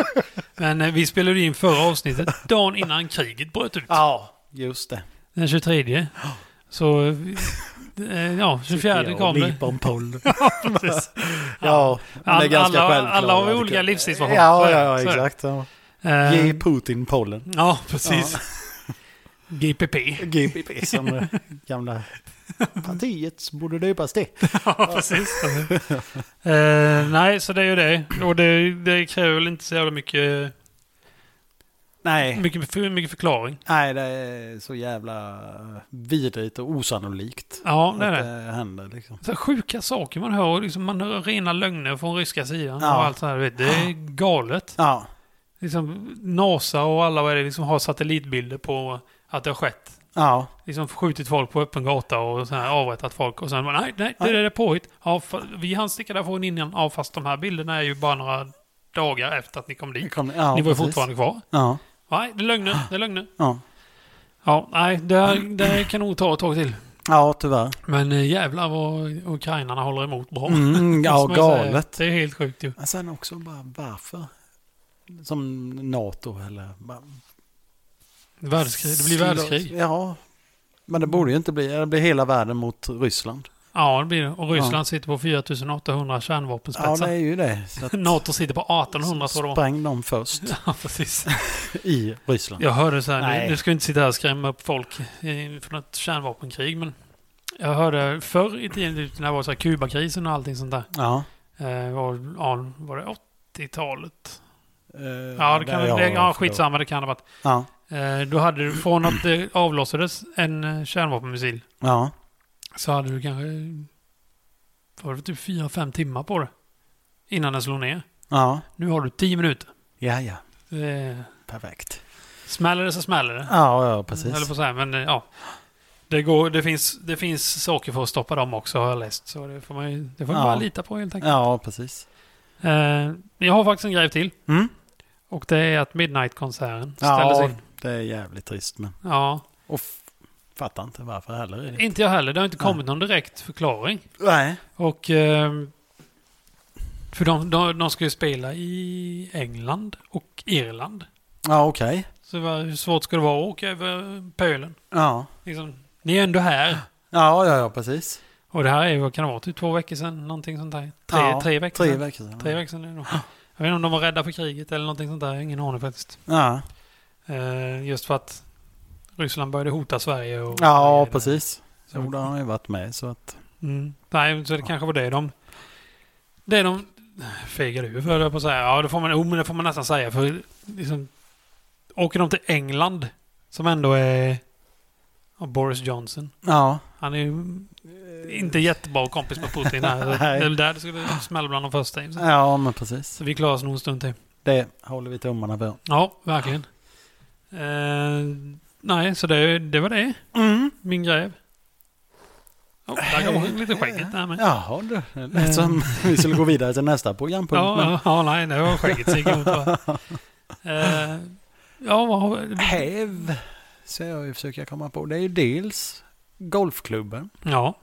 [SPEAKER 2] men eh, vi spelade ju in förra avsnittet dagen innan kriget bröt ut.
[SPEAKER 1] Ja, just det.
[SPEAKER 2] Den 23.
[SPEAKER 1] (gasps)
[SPEAKER 2] Så, eh, vi- eh, ja, 24 kom (laughs) det.
[SPEAKER 1] Lipa om pollen.
[SPEAKER 2] Precis.
[SPEAKER 1] Ja, men det är
[SPEAKER 2] All-
[SPEAKER 1] ganska
[SPEAKER 2] alla-
[SPEAKER 1] självklart.
[SPEAKER 2] alla har vi
[SPEAKER 1] Jag
[SPEAKER 2] olika
[SPEAKER 1] tycker-
[SPEAKER 2] livssituationer. Så
[SPEAKER 1] Ja,
[SPEAKER 2] är det,
[SPEAKER 1] ja,
[SPEAKER 2] så är det.
[SPEAKER 1] ja exakt. Ja.
[SPEAKER 2] Eh,
[SPEAKER 1] Ge Putin pollen.
[SPEAKER 2] ja, precis. (laughs)
[SPEAKER 1] (laughs)
[SPEAKER 2] GPP.
[SPEAKER 1] GPP som det gamla partiet borde döpas till.
[SPEAKER 2] Ja, precis. (laughs) Eh, nej, så det är ju det. Och det, det kräver väl inte så jävla mycket,
[SPEAKER 1] Nej,
[SPEAKER 2] mycket, för, mycket förklaring.
[SPEAKER 1] nej, det är så jävla vidrigt och osannolikt.
[SPEAKER 2] Ja, det är
[SPEAKER 1] att
[SPEAKER 2] det.
[SPEAKER 1] det händer liksom.
[SPEAKER 2] Så här sjuka saker man hör. och Liksom man hör rena lögner från ryska sidan.
[SPEAKER 1] Ja.
[SPEAKER 2] Och allt så här, du vet. Det är galet.
[SPEAKER 1] Ja,
[SPEAKER 2] Liksom, NASA och alla vad är det, liksom, har satellitbilder på att det har skett.
[SPEAKER 1] ja,
[SPEAKER 2] Liksom skjutit folk på öppen gata och så här, avrättat folk. Och sen bara, nej, nej, det är det påhitt. Ja, fa- vi hann sticka därifrån innan. Ja, fast de här bilderna är ju bara några dagar efter att ni kom
[SPEAKER 1] det
[SPEAKER 2] dit.
[SPEAKER 1] kom, ja
[SPEAKER 2] ni var ju
[SPEAKER 1] precis.
[SPEAKER 2] fortfarande kvar.
[SPEAKER 1] Ja,
[SPEAKER 2] Nej, det är lögner. Det är lögner.
[SPEAKER 1] ja.
[SPEAKER 2] Ja, nej, det, det kan nog ta ett tag till.
[SPEAKER 1] ja tyvärr.
[SPEAKER 2] Men eh, jävlar vad ukrainarna håller emot bra.
[SPEAKER 1] Mm, (laughs) ja,
[SPEAKER 2] Måste man ju säga.
[SPEAKER 1] galet.
[SPEAKER 2] Det är helt sjukt ju.
[SPEAKER 1] Men sen också bara varför? Som NATO eller... bara-
[SPEAKER 2] Världskrig. Det blir världskrig.
[SPEAKER 1] Ja, men det borde ju inte bli. Det blir hela världen mot Ryssland.
[SPEAKER 2] Ja, det blir det. Och Ryssland
[SPEAKER 1] Ja.
[SPEAKER 2] sitter på 4800
[SPEAKER 1] Ja,
[SPEAKER 2] kärnvapenspetsar.
[SPEAKER 1] det är ju det. Så (laughs) att-
[SPEAKER 2] NATO sitter på 1800 tror jag det var.
[SPEAKER 1] Spräng dem först
[SPEAKER 2] Ja, precis.
[SPEAKER 1] i Ryssland.
[SPEAKER 2] Jag hörde så här,
[SPEAKER 1] Nej.
[SPEAKER 2] nu, nu ska vi inte sitta här och skrämma upp folk eh, från ett kärnvapenkrig, men jag hörde förr i tiden, typ när det var så här Kubakrisen och allting sånt där.
[SPEAKER 1] Ja.
[SPEAKER 2] Eh, var, ja, var det 80-talet?
[SPEAKER 1] Eh,
[SPEAKER 2] Ja, det kan,
[SPEAKER 1] är jag
[SPEAKER 2] det, ja
[SPEAKER 1] förlåt.
[SPEAKER 2] skitsamma. Det kan det ha varit.
[SPEAKER 1] Ja,
[SPEAKER 2] Eh, då hade du, från att det avlossades en eh, kärnvapenmissil,
[SPEAKER 1] ja,
[SPEAKER 2] så hade du kanske... Var det typ 4-5 timmar på det? Innan den slog ner.
[SPEAKER 1] ja,
[SPEAKER 2] Nu har du 10 minuter.
[SPEAKER 1] ja, ja.
[SPEAKER 2] Eh,
[SPEAKER 1] perfekt.
[SPEAKER 2] smäller det så smäller det.
[SPEAKER 1] Ja, ja, precis.
[SPEAKER 2] Eller på så här, men eh, ja. Det, går, det, finns, det finns saker för att stoppa dem också har jag läst. Så det får man, ju- det får man
[SPEAKER 1] Ja.
[SPEAKER 2] bara lita på helt enkelt.
[SPEAKER 1] Ja, precis.
[SPEAKER 2] Eh, jag har faktiskt en grej till.
[SPEAKER 1] Mm?
[SPEAKER 2] Och det är att Midnight-konserten ställdes
[SPEAKER 1] Ja,
[SPEAKER 2] in.
[SPEAKER 1] det är jävligt trist men.
[SPEAKER 2] Ja.
[SPEAKER 1] Och f- fattar inte varför heller. Är det.
[SPEAKER 2] Inte jag heller. Det har inte kommit någon direkt förklaring.
[SPEAKER 1] Nej.
[SPEAKER 2] Och... ehm, För de, de, de ska ju spela i England och Irland.
[SPEAKER 1] Ja, okej.
[SPEAKER 2] Så vad- hur svårt ska det vara att åka över pölen?
[SPEAKER 1] Ja.
[SPEAKER 2] Liksom, ni är ändå här.
[SPEAKER 1] ja, ja, ja, precis.
[SPEAKER 2] Och det här är ju, vad kan det vara, typ två veckor sedan? Någonting sånt där. Tre,
[SPEAKER 1] ja,
[SPEAKER 2] tre veckor
[SPEAKER 1] Tre
[SPEAKER 2] sedan.
[SPEAKER 1] veckor sedan.
[SPEAKER 2] Tre veckor sedan är det nog. Jag vet inte om de var rädda för kriget eller någonting sånt där. Jag har Ingen aning faktiskt.
[SPEAKER 1] Ja,
[SPEAKER 2] Eh, just för att Ryssland började hota Sverige. Och
[SPEAKER 1] ja
[SPEAKER 2] Sverige-
[SPEAKER 1] precis.
[SPEAKER 2] Så-
[SPEAKER 1] Jo, där har han ju varit med så att...
[SPEAKER 2] Mm. Nej, så det kanske var det de... Det de fegade ur för, höll jag på att säga. Ja, det får man, oh, men det får man nästan säga. För liksom, åker de till England, som ändå är ja, Boris Johnson.
[SPEAKER 1] Ja,
[SPEAKER 2] Han är ju inte jättebra kompis med Putin. Här. Så det
[SPEAKER 1] (laughs) Nej.
[SPEAKER 2] är väl där det skulle smälla bland de första. i och för sig.
[SPEAKER 1] ja men precis.
[SPEAKER 2] Så vi klarar oss nog en stund till.
[SPEAKER 1] Det håller vi tummarna för.
[SPEAKER 2] Ja, verkligen. Eh, nej, så det, det var det.
[SPEAKER 1] Mm.
[SPEAKER 2] Min gräv. Oh, där går lite skägget där med.
[SPEAKER 1] Jaha,
[SPEAKER 2] (laughs)
[SPEAKER 1] det lät som vi skulle gå vidare till nästa programpunkt.
[SPEAKER 2] Ja,
[SPEAKER 1] men
[SPEAKER 2] ja, ja, nej, det var skägget som gick emot bara. eh, Ja, vad har vi?
[SPEAKER 1] Häv, så jag försöker komma på. Det är ju dels golfklubben.
[SPEAKER 2] Ja,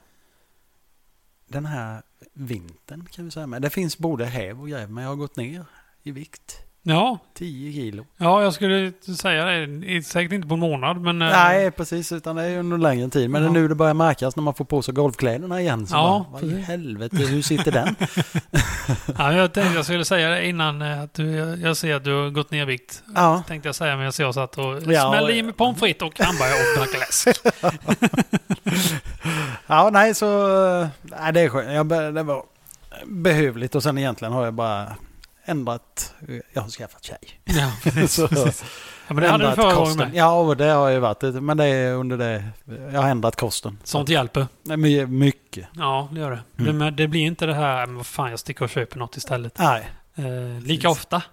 [SPEAKER 1] den här vintern kan vi säga med. Det finns både häv och gräv men jag har gått ner i vikt.
[SPEAKER 2] ja,
[SPEAKER 1] 10 kilo.
[SPEAKER 2] ja, jag skulle säga det. Säkert inte på en månad, men... eh,
[SPEAKER 1] Nej precis, utan det är ju under längre tid. Men det är
[SPEAKER 2] Ja.
[SPEAKER 1] nu det börjar märkas när man får på sig golfkläderna igen. Så
[SPEAKER 2] Ja,
[SPEAKER 1] bara, vad i
[SPEAKER 2] precis.
[SPEAKER 1] helvete, hur sitter
[SPEAKER 2] (laughs)
[SPEAKER 1] den?
[SPEAKER 2] Ja, jag tänkte jag skulle säga det innan eh, att du, jag jag ser att du har gått ner i vikt.
[SPEAKER 1] ja,
[SPEAKER 2] Tänkte jag säga medan jag satt och
[SPEAKER 1] Ja,
[SPEAKER 2] smällde
[SPEAKER 1] ja.
[SPEAKER 2] i mig pommes frites och hamburgare och
[SPEAKER 1] (laughs)
[SPEAKER 2] drack läsk.
[SPEAKER 1] ja, nej så... eh, Nej, det är skönt. Jag, be- det var behövligt och sen egentligen har jag bara ändrat... eh, Jag har skaffat tjej.
[SPEAKER 2] Ja,
[SPEAKER 1] (laughs)
[SPEAKER 2] precis.
[SPEAKER 1] Så-
[SPEAKER 2] precis. Ja, men det hade du
[SPEAKER 1] Ändrat
[SPEAKER 2] förra gången
[SPEAKER 1] kosten.
[SPEAKER 2] med.
[SPEAKER 1] Ja, och det har jag ju varit. Men det är under det... Jag har ändrat kosten.
[SPEAKER 2] Sånt hjälper.
[SPEAKER 1] Nej, my- Mycket.
[SPEAKER 2] Ja, det gör det.
[SPEAKER 1] Mm.
[SPEAKER 2] Men det blir inte det här, men vad fan jag sticker och köper något istället.
[SPEAKER 1] Nej.
[SPEAKER 2] Eh,
[SPEAKER 1] Precis.
[SPEAKER 2] lika ofta.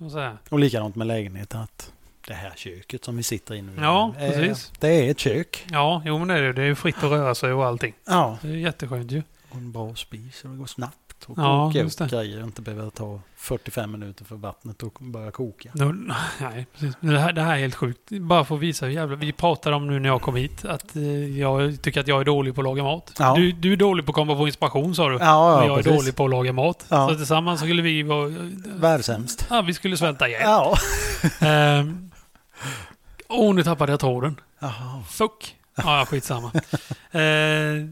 [SPEAKER 2] Och så här.
[SPEAKER 1] Och likadant med lägenheten. Att det här köket som vi sitter i nu.
[SPEAKER 2] Ja,
[SPEAKER 1] eh,
[SPEAKER 2] precis.
[SPEAKER 1] Det är ett kök.
[SPEAKER 2] Ja, jo men det är det. Det är ju fritt att röra sig och allting.
[SPEAKER 1] Ja.
[SPEAKER 2] Det är ju jätteskönt ju.
[SPEAKER 1] Och en bra spis och det går snabbt. Och
[SPEAKER 2] Ja,
[SPEAKER 1] koka
[SPEAKER 2] just det.
[SPEAKER 1] upp grejer. Inte behöva ta 45 minuter för vattnet och börja koka.
[SPEAKER 2] Nu- (laughs) Nej, precis. Men Det här, det här är helt sjukt. Bara för att visa hur jävla... Vi pratade om nu när jag kom hit att eh, jag tycker att jag är dålig på att laga mat.
[SPEAKER 1] Ja.
[SPEAKER 2] Du, du är dålig på att komma på inspiration sa du.
[SPEAKER 1] Ja,
[SPEAKER 2] Men
[SPEAKER 1] ja
[SPEAKER 2] jag är
[SPEAKER 1] precis.
[SPEAKER 2] dålig på att laga mat.
[SPEAKER 1] Ja.
[SPEAKER 2] Så tillsammans skulle vi vara...
[SPEAKER 1] Världshemskt.
[SPEAKER 2] Ja, vi skulle svälta ihjäl.
[SPEAKER 1] Ja.
[SPEAKER 2] Ehm, Åh, nu tappade jag tråden.
[SPEAKER 1] Jaha.
[SPEAKER 2] Fuck. Ja, ja, skitsamma. (laughs) eh,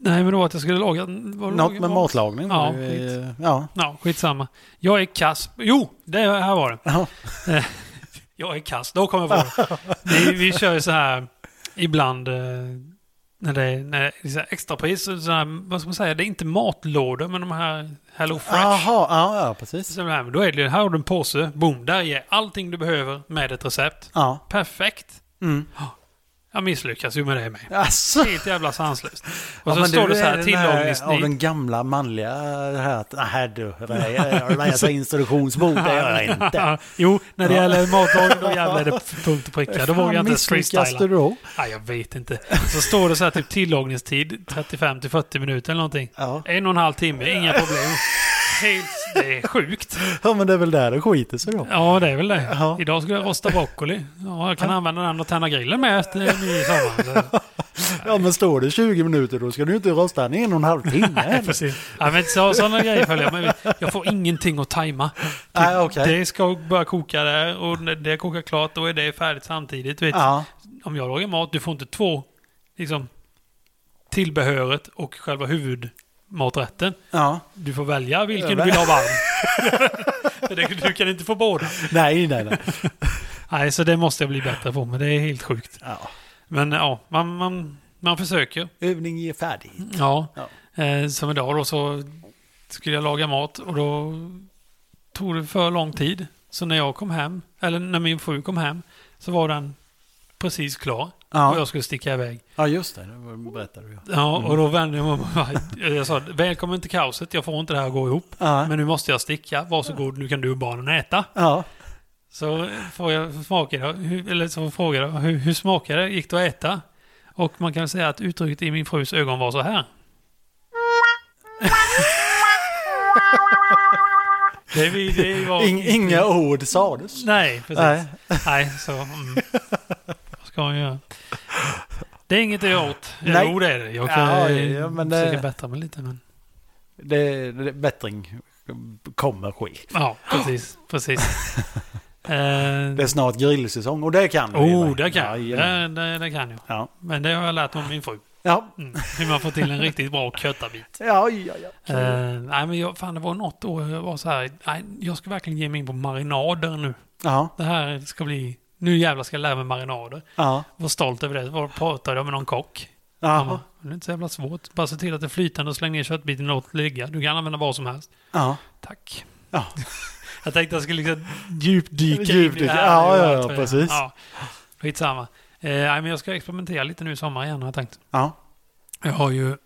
[SPEAKER 2] nej, men då att jag skulle laga... vad
[SPEAKER 1] Något
[SPEAKER 2] laga-
[SPEAKER 1] med
[SPEAKER 2] vad-
[SPEAKER 1] matlagning.
[SPEAKER 2] Ja,
[SPEAKER 1] var ju, eh, ja.
[SPEAKER 2] Ja, skitsamma. Jag är kass. Jo, det här var det.
[SPEAKER 1] Ja.
[SPEAKER 2] Jag är kass. Då kommer jag
[SPEAKER 1] (laughs)
[SPEAKER 2] på det. vi, vi kör ju så här ibland eh, när det är, när det är så här extrapris. Så så här, vad ska man säga? Det är inte matlådor, men de här Hello Fresh.
[SPEAKER 1] Jaha, ja, ja precis.
[SPEAKER 2] Så här, men då är det, här har du en påse. Boom, där är allting du behöver med ett recept.
[SPEAKER 1] Ja.
[SPEAKER 2] Perfekt.
[SPEAKER 1] Mm.
[SPEAKER 2] Jag misslyckas ju med det med.
[SPEAKER 1] Alltså.
[SPEAKER 2] Helt jävla sanslöst. Och
[SPEAKER 1] Ja,
[SPEAKER 2] så
[SPEAKER 1] men
[SPEAKER 2] står
[SPEAKER 1] du
[SPEAKER 2] det så
[SPEAKER 1] är
[SPEAKER 2] här
[SPEAKER 1] den här- Av
[SPEAKER 2] tillagningsstil.
[SPEAKER 1] den gamla manliga det här att, nej du, läsa instruktionsbok, det gör jag inte.
[SPEAKER 2] (laughs) Ja, jo, när det gäller matlagning då jävlar är det punkt och pricka. Då vågar jag inte ens
[SPEAKER 1] Misslyckas du
[SPEAKER 2] freestyla.
[SPEAKER 1] då?
[SPEAKER 2] Nej, jag vet inte. Så står det så här typ tillagningstid 35 till 40 minuter eller någonting.
[SPEAKER 1] Ja.
[SPEAKER 2] En och en halv timme, inga problem. Helt, det är sjukt.
[SPEAKER 1] ja, men det är väl där det skiter sig då.
[SPEAKER 2] Ja, det är väl det.
[SPEAKER 1] Ja.
[SPEAKER 2] Idag skulle jag rosta broccoli. Ja, jag kan använda den och tända grillen med efter midsommar. Så-
[SPEAKER 1] (laughs) Ja, men står det 20 minuter då ska du ju inte rosta den i en och en halv timme.
[SPEAKER 2] Nej, precis. Ja, men så, sådana grejer följer jag med. Jag får ingenting att tajma.
[SPEAKER 1] Nej, okej.
[SPEAKER 2] Det ska börja koka där och när det kokar klart då är det färdigt samtidigt. Vet.
[SPEAKER 1] Ja,
[SPEAKER 2] Om jag lagar mat, du får inte två liksom, tillbehöret och själva huvudmaträtten.
[SPEAKER 1] ja.
[SPEAKER 2] Du får välja vilken du vill ha
[SPEAKER 1] (laughs)
[SPEAKER 2] varm. För det- du kan inte få båda.
[SPEAKER 1] Nej, nej, nej.
[SPEAKER 2] Nej, så det måste jag bli bättre på, men det är helt sjukt.
[SPEAKER 1] Ja.
[SPEAKER 2] Men ja, man, man, man försöker.
[SPEAKER 1] Övning ger färdig.
[SPEAKER 2] Ja.
[SPEAKER 1] Ja.
[SPEAKER 2] Eh, som idag då så skulle jag laga mat och då tog det för lång tid. Så när jag kom hem, eller när min fru kom hem, så var den precis klar. Och
[SPEAKER 1] Ja,
[SPEAKER 2] jag skulle sticka iväg.
[SPEAKER 1] ja just det. Det berättade du.
[SPEAKER 2] Ja, och då vände jag mig om och bara- Jag sa, välkommen till kaoset, jag får inte det här att gå ihop.
[SPEAKER 1] Ja.
[SPEAKER 2] Men nu måste jag sticka, varsågod, nu kan du och barnen äta.
[SPEAKER 1] Ja.
[SPEAKER 2] Så får jag smaka det, hur, eller så frågar jag, hur, hur smakar det? Gick det att äta? Och man kan säga att uttrycket i min frus ögon var så här. (laughs) det, vi- det var...
[SPEAKER 1] Ing- inga ord sades.
[SPEAKER 2] Nej, precis.
[SPEAKER 1] Nej.
[SPEAKER 2] Nej, så... Mm. Vad ska man göra? Det är inget att göra åt.
[SPEAKER 1] Nej.
[SPEAKER 2] Jo, det är det. Jag kan
[SPEAKER 1] Ja,
[SPEAKER 2] ja,
[SPEAKER 1] ja, men det-
[SPEAKER 2] försöka bättra mig lite, men...
[SPEAKER 1] Det, det, bättring kommer ske.
[SPEAKER 2] Ja, precis.
[SPEAKER 1] (laughs)
[SPEAKER 2] precis. Eh,
[SPEAKER 1] Det är snart grillsäsong och det kan du.
[SPEAKER 2] oh,
[SPEAKER 1] Ivar.
[SPEAKER 2] det kan jag.
[SPEAKER 1] Ja,
[SPEAKER 2] Det, det, det kan jag.
[SPEAKER 1] ja.
[SPEAKER 2] Men det har jag lärt mig av min fru.
[SPEAKER 1] Ja.
[SPEAKER 2] Mm. Hur man får till en riktigt bra köttabit.
[SPEAKER 1] Ja, ja, ja.
[SPEAKER 2] Eh, nej, men jag, fan, det var något år jag var så här. Nej, jag ska verkligen ge mig in på marinader nu.
[SPEAKER 1] Ja,
[SPEAKER 2] Det här ska bli... Nu jävlar ska jag lära mig marinader.
[SPEAKER 1] ja.
[SPEAKER 2] Var stolt över det. Var pratade jag med någon kock. Han
[SPEAKER 1] Ja,
[SPEAKER 2] bara, Det är inte så jävla svårt. Bara se till att det är flytande och släng ner köttbiten och låt det ligga. Du kan använda vad som helst.
[SPEAKER 1] ja.
[SPEAKER 2] Tack.
[SPEAKER 1] Ja.
[SPEAKER 2] (laughs) Jag tänkte jag skulle liksom djupdyka in i
[SPEAKER 1] Djupdyka,
[SPEAKER 2] det här.
[SPEAKER 1] ja,
[SPEAKER 2] nu och
[SPEAKER 1] ja, ja,
[SPEAKER 2] allt vad jag-
[SPEAKER 1] precis.
[SPEAKER 2] Ja. Skitsamma. Eh, nej, men jag ska experimentera lite nu i sommar igen har jag tänkt.
[SPEAKER 1] ja.
[SPEAKER 2] Jag (clears throat) har ju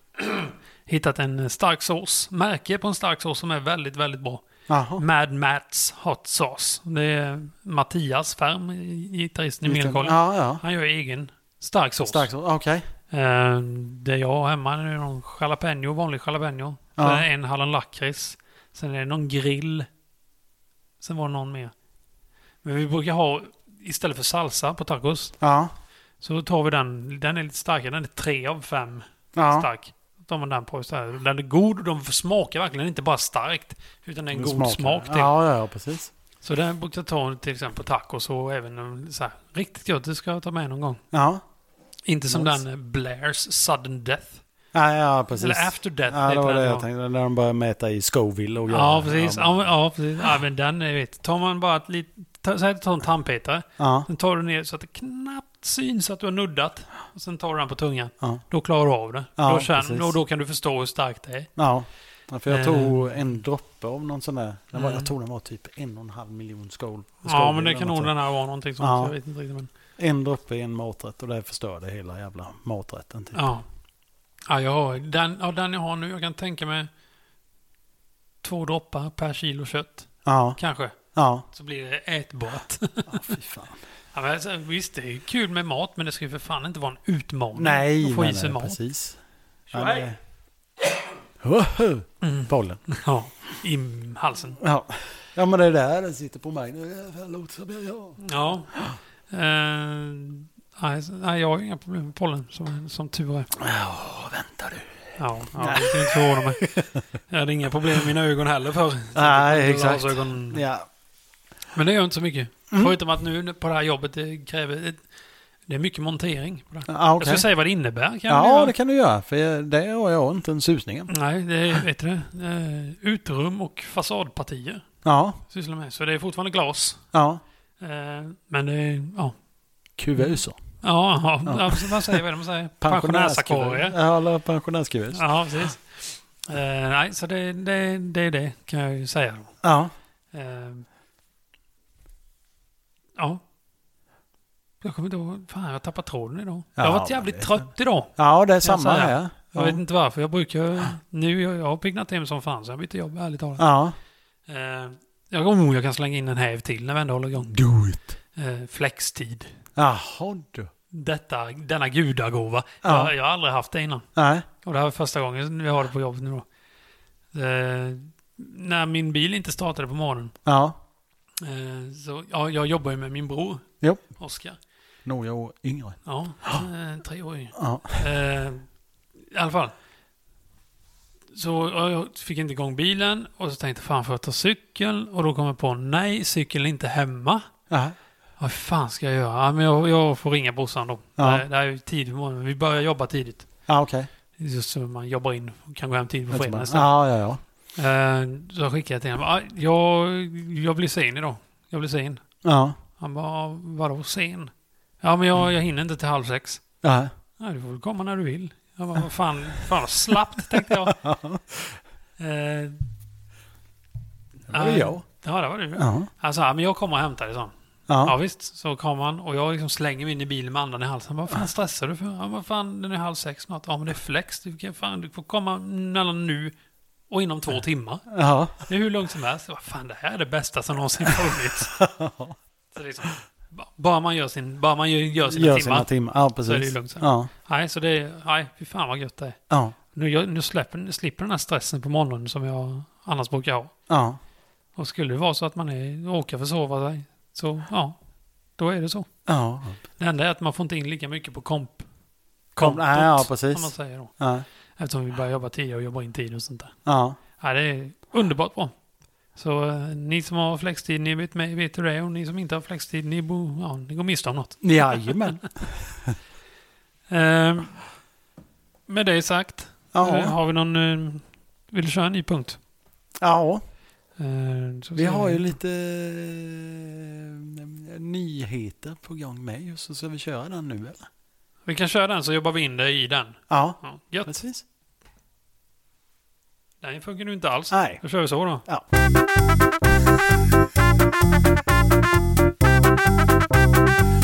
[SPEAKER 2] hittat en stark sås, märke på en stark sås som är väldigt, väldigt bra.
[SPEAKER 1] Jaha.
[SPEAKER 2] Mad Mats Hot Sauce. Det är Mattias Färm, gitarristen i Medelkollen.
[SPEAKER 1] Ja, ja.
[SPEAKER 2] Han gör egen stark sås.
[SPEAKER 1] Stark så. Okej.
[SPEAKER 2] Eh, det jag har hemma det är någon jalapeno, vanlig jalapeno.
[SPEAKER 1] Ja.
[SPEAKER 2] Sen är det en hallonlakrits. Sen är det någon grill. Sen var det någon mer. Men vi brukar ha, istället för salsa på tacos,
[SPEAKER 1] Ja.
[SPEAKER 2] så tar vi den. Den är lite starkare. Den är tre av fem
[SPEAKER 1] Ja.
[SPEAKER 2] stark. Då tar man den på istället. Den är god och de smakar verkligen inte bara starkt. Utan det är en god
[SPEAKER 1] smakar.
[SPEAKER 2] smak till.
[SPEAKER 1] Ja, ja, ja, precis.
[SPEAKER 2] Så den brukar jag ta till exempel på tacos och även um, så här, riktigt gott. Det ska jag ta med någon gång.
[SPEAKER 1] Ja.
[SPEAKER 2] Inte som
[SPEAKER 1] Nice.
[SPEAKER 2] den eh, Blairs Sudden Death.
[SPEAKER 1] Ja, ja, precis.
[SPEAKER 2] Eller After Death.
[SPEAKER 1] Ja, det
[SPEAKER 2] heter
[SPEAKER 1] var
[SPEAKER 2] den,
[SPEAKER 1] det
[SPEAKER 2] ja.
[SPEAKER 1] jag tänkte. När de började mäta i Scoville och
[SPEAKER 2] Ja,
[SPEAKER 1] göra-
[SPEAKER 2] precis. Ja, men- ja, precis. Ja, men den är vet. Tar man bara ett litet... ta- Säg att du tar en tandpetare.
[SPEAKER 1] Ja.
[SPEAKER 2] Sen tar du ner så att det knappt syns att du har nuddat. Och sen tar du den på tungan.
[SPEAKER 1] Ja.
[SPEAKER 2] Då klarar du av det.
[SPEAKER 1] Ja,
[SPEAKER 2] då, känner,
[SPEAKER 1] precis.
[SPEAKER 2] då, då kan du förstå hur starkt det är.
[SPEAKER 1] Ja, Ja, för jag
[SPEAKER 2] Eh.
[SPEAKER 1] tog en droppe av någon sån där. Den var,
[SPEAKER 2] Mm.
[SPEAKER 1] jag tror den var typ en och en halv miljon skål.
[SPEAKER 2] Ja, men det kan nog den här vara någonting som
[SPEAKER 1] Ja.
[SPEAKER 2] jag vet inte riktigt. Men,
[SPEAKER 1] En droppe i en maträtt och det förstörde hela jävla maträtten. Typ.
[SPEAKER 2] ja. Ja, jag har, den, ja, den jag har nu, jag kan tänka mig två droppar per kilo kött.
[SPEAKER 1] Ja,
[SPEAKER 2] Kanske.
[SPEAKER 1] ja.
[SPEAKER 2] Så blir det
[SPEAKER 1] (laughs)
[SPEAKER 2] ätbart.
[SPEAKER 1] ja fy fan.
[SPEAKER 2] Ja, men alltså, visst, det är kul med mat, men det ska ju för fan inte vara en utmaning
[SPEAKER 1] Nej,
[SPEAKER 2] att få
[SPEAKER 1] nej,
[SPEAKER 2] i sig
[SPEAKER 1] nej,
[SPEAKER 2] mat.
[SPEAKER 1] precis.
[SPEAKER 2] Tjohej.
[SPEAKER 1] Hoho!
[SPEAKER 2] Mm.
[SPEAKER 1] Bollen.
[SPEAKER 2] Ja, i halsen.
[SPEAKER 1] Ja. ja, men det är där den sitter på mig nu. Jävla lotsar blir jag.
[SPEAKER 2] Ja. Eh, nej, så- nej, jag har inga problem med pollen, som, som tur är.
[SPEAKER 1] Ja, vänta du.
[SPEAKER 2] Ja, ja det kan inte förvåna mig. Jag hade inga problem med mina ögon
[SPEAKER 1] (laughs)
[SPEAKER 2] heller för.
[SPEAKER 1] Nej, exakt.
[SPEAKER 2] Glasögon.
[SPEAKER 1] Ja,
[SPEAKER 2] Men det gör inte så mycket.
[SPEAKER 1] Mm.
[SPEAKER 2] Förutom att nu på det här jobbet det kräver... Det, det är mycket montering. På det. här.
[SPEAKER 1] ja
[SPEAKER 2] Jag
[SPEAKER 1] okej.
[SPEAKER 2] ska säga vad det innebär. Kan jag
[SPEAKER 1] Ja,
[SPEAKER 2] göra?
[SPEAKER 1] det kan du göra. För det har jag inte en susning om.
[SPEAKER 2] Nej, det är vet du, det, eh, utrum och fasadpartier
[SPEAKER 1] Ja,
[SPEAKER 2] sysslar med. Så det är fortfarande glas.
[SPEAKER 1] ja.
[SPEAKER 2] Eh, men det är... Ja,
[SPEAKER 1] Kuvuser.
[SPEAKER 2] Ja, ja. ja. precis. man säger vad är det
[SPEAKER 1] (laughs)
[SPEAKER 2] man säger. Pensionärsakvarier.
[SPEAKER 1] Ja, eller pensionärskuvus.
[SPEAKER 2] Ja, precis. Eh, nej, så det, det, det är det kan jag ju säga. då.
[SPEAKER 1] Ja.
[SPEAKER 2] Eh, ja. Jag kommer inte ihåg. Fan, jag har tappat tråden idag. jag har
[SPEAKER 1] Ja,
[SPEAKER 2] varit
[SPEAKER 1] men
[SPEAKER 2] jävligt
[SPEAKER 1] det-
[SPEAKER 2] trött idag.
[SPEAKER 1] ja, det är
[SPEAKER 2] Kan jag
[SPEAKER 1] samma
[SPEAKER 2] säga.
[SPEAKER 1] här.
[SPEAKER 2] Jag
[SPEAKER 1] Ja.
[SPEAKER 2] vet inte varför. Jag brukar ju- nu, jag, jag har piggnat till mig som fan så jag bytte jobb, ärligt talat.
[SPEAKER 1] Ja.
[SPEAKER 2] Eh, jag, oh, jag kan slänga in en häv till när vi ändå håller igång.
[SPEAKER 1] Do it.
[SPEAKER 2] Eh, flextid.
[SPEAKER 1] Jaha du.
[SPEAKER 2] Detta, denna gudagåva.
[SPEAKER 1] Ja.
[SPEAKER 2] Jag, jag har aldrig haft det innan.
[SPEAKER 1] Nej.
[SPEAKER 2] Och det här är första gången vi har det på jobbet nu då. Eh, när min bil inte startade på morgonen.
[SPEAKER 1] Ja.
[SPEAKER 2] Eh, så, ja, jag jobbar ju med min bror.
[SPEAKER 1] Jo.
[SPEAKER 2] Oskar.
[SPEAKER 1] Några år yngre.
[SPEAKER 2] Ja, eh, tre år yngre.
[SPEAKER 1] Ja.
[SPEAKER 2] eh, I alla fall. Så ja, jag fick inte igång bilen och så tänkte jag fan får jag ta cykeln? Och då kom jag på nej, cykeln är inte hemma.
[SPEAKER 1] Ja.
[SPEAKER 2] Vad fan ska jag göra? Ja, men jag, jag får ringa brorsan då.
[SPEAKER 1] Ja.
[SPEAKER 2] Det, här, det här är ju tidigt på morgonen. Vi börjar jobba tidigt.
[SPEAKER 1] Ja, okej.
[SPEAKER 2] Just så man jobbar in och kan gå hem tidigt på fredagen
[SPEAKER 1] Ja,
[SPEAKER 2] istället.
[SPEAKER 1] ja, ja.
[SPEAKER 2] Eh, Så jag skickade till honom. "Ah, Jag, jag blir sen idag. Jag blir sen.
[SPEAKER 1] Ja.
[SPEAKER 2] Han bara, vadå sen? Ja, men jag, jag hinner inte till halv sex.
[SPEAKER 1] Ja.
[SPEAKER 2] Ja, du får väl komma när du vill. Jag bara, vad fan, fan vad slappt
[SPEAKER 1] (laughs)
[SPEAKER 2] tänkte jag. Eh,
[SPEAKER 1] Det var det
[SPEAKER 2] eh,
[SPEAKER 1] jag.
[SPEAKER 2] Ja, det var du.
[SPEAKER 1] Ja.
[SPEAKER 2] Alltså, ja, men jag kommer och hämtar dig, sa han. Ja.
[SPEAKER 1] Ja.
[SPEAKER 2] visst, så kom han och jag liksom slänger mig in i bilen med andan i halsen. Han bara, Vad fan stressar du för? Ja, vad fan, den är halv sex snart. Ja, men det är flex. Du, kan, fan, du får komma mellan nu och inom två timmar.
[SPEAKER 1] Ja.
[SPEAKER 2] Det är hur långt som helst. Vad fan, det här är det bästa som
[SPEAKER 1] (laughs)
[SPEAKER 2] någonsin funnits. så liksom, ba- bara man gör, sin, bara man gör, gör sina
[SPEAKER 1] Gör
[SPEAKER 2] timmar.
[SPEAKER 1] sina timmar. Ja,
[SPEAKER 2] Så är det ju
[SPEAKER 1] precis.
[SPEAKER 2] lugnt sen.
[SPEAKER 1] Ja.
[SPEAKER 2] Nej, så det är... Nej, fy fan vad gött det är.
[SPEAKER 1] Ja.
[SPEAKER 2] Nu, gör- nu släpper, slipper den här stressen på morgonen som jag annars brukar ha.
[SPEAKER 1] Ja.
[SPEAKER 2] Och skulle det vara så att man är, åker försova sig, så ja, då är det så.
[SPEAKER 1] Ja.
[SPEAKER 2] Det enda är att man får inte in lika mycket på komp.
[SPEAKER 1] Kom. Ja, ja,
[SPEAKER 2] Som man
[SPEAKER 1] precis.
[SPEAKER 2] säger då.
[SPEAKER 1] Ja.
[SPEAKER 2] Eftersom vi börjar jobba tidigare och jobbar in tid och sånt där.
[SPEAKER 1] Ja.
[SPEAKER 2] Ja, det är underbart bra. Så eh, ni som har flextid, ni vet, med, vet hur det är. Och ni som inte har flextid, ni, bo, ja, ni går miste om något.
[SPEAKER 1] Jajamän.
[SPEAKER 2] Ehm, med det sagt, eh,
[SPEAKER 1] Ja.
[SPEAKER 2] har vi någon... eh, Vill du köra en ny punkt?
[SPEAKER 1] Ja.
[SPEAKER 2] Eh, så
[SPEAKER 1] Vi
[SPEAKER 2] ser
[SPEAKER 1] har
[SPEAKER 2] vi.
[SPEAKER 1] ju lite eh, nyheter på gång med just så ska vi köra den nu eller?
[SPEAKER 2] vi kan köra den så jobbar vi in det i den.
[SPEAKER 1] Ja,
[SPEAKER 2] Ja, gött.
[SPEAKER 1] precis.
[SPEAKER 2] Den funkar nu inte alls.
[SPEAKER 1] Nej.
[SPEAKER 2] Då kör vi så då.
[SPEAKER 1] Ja.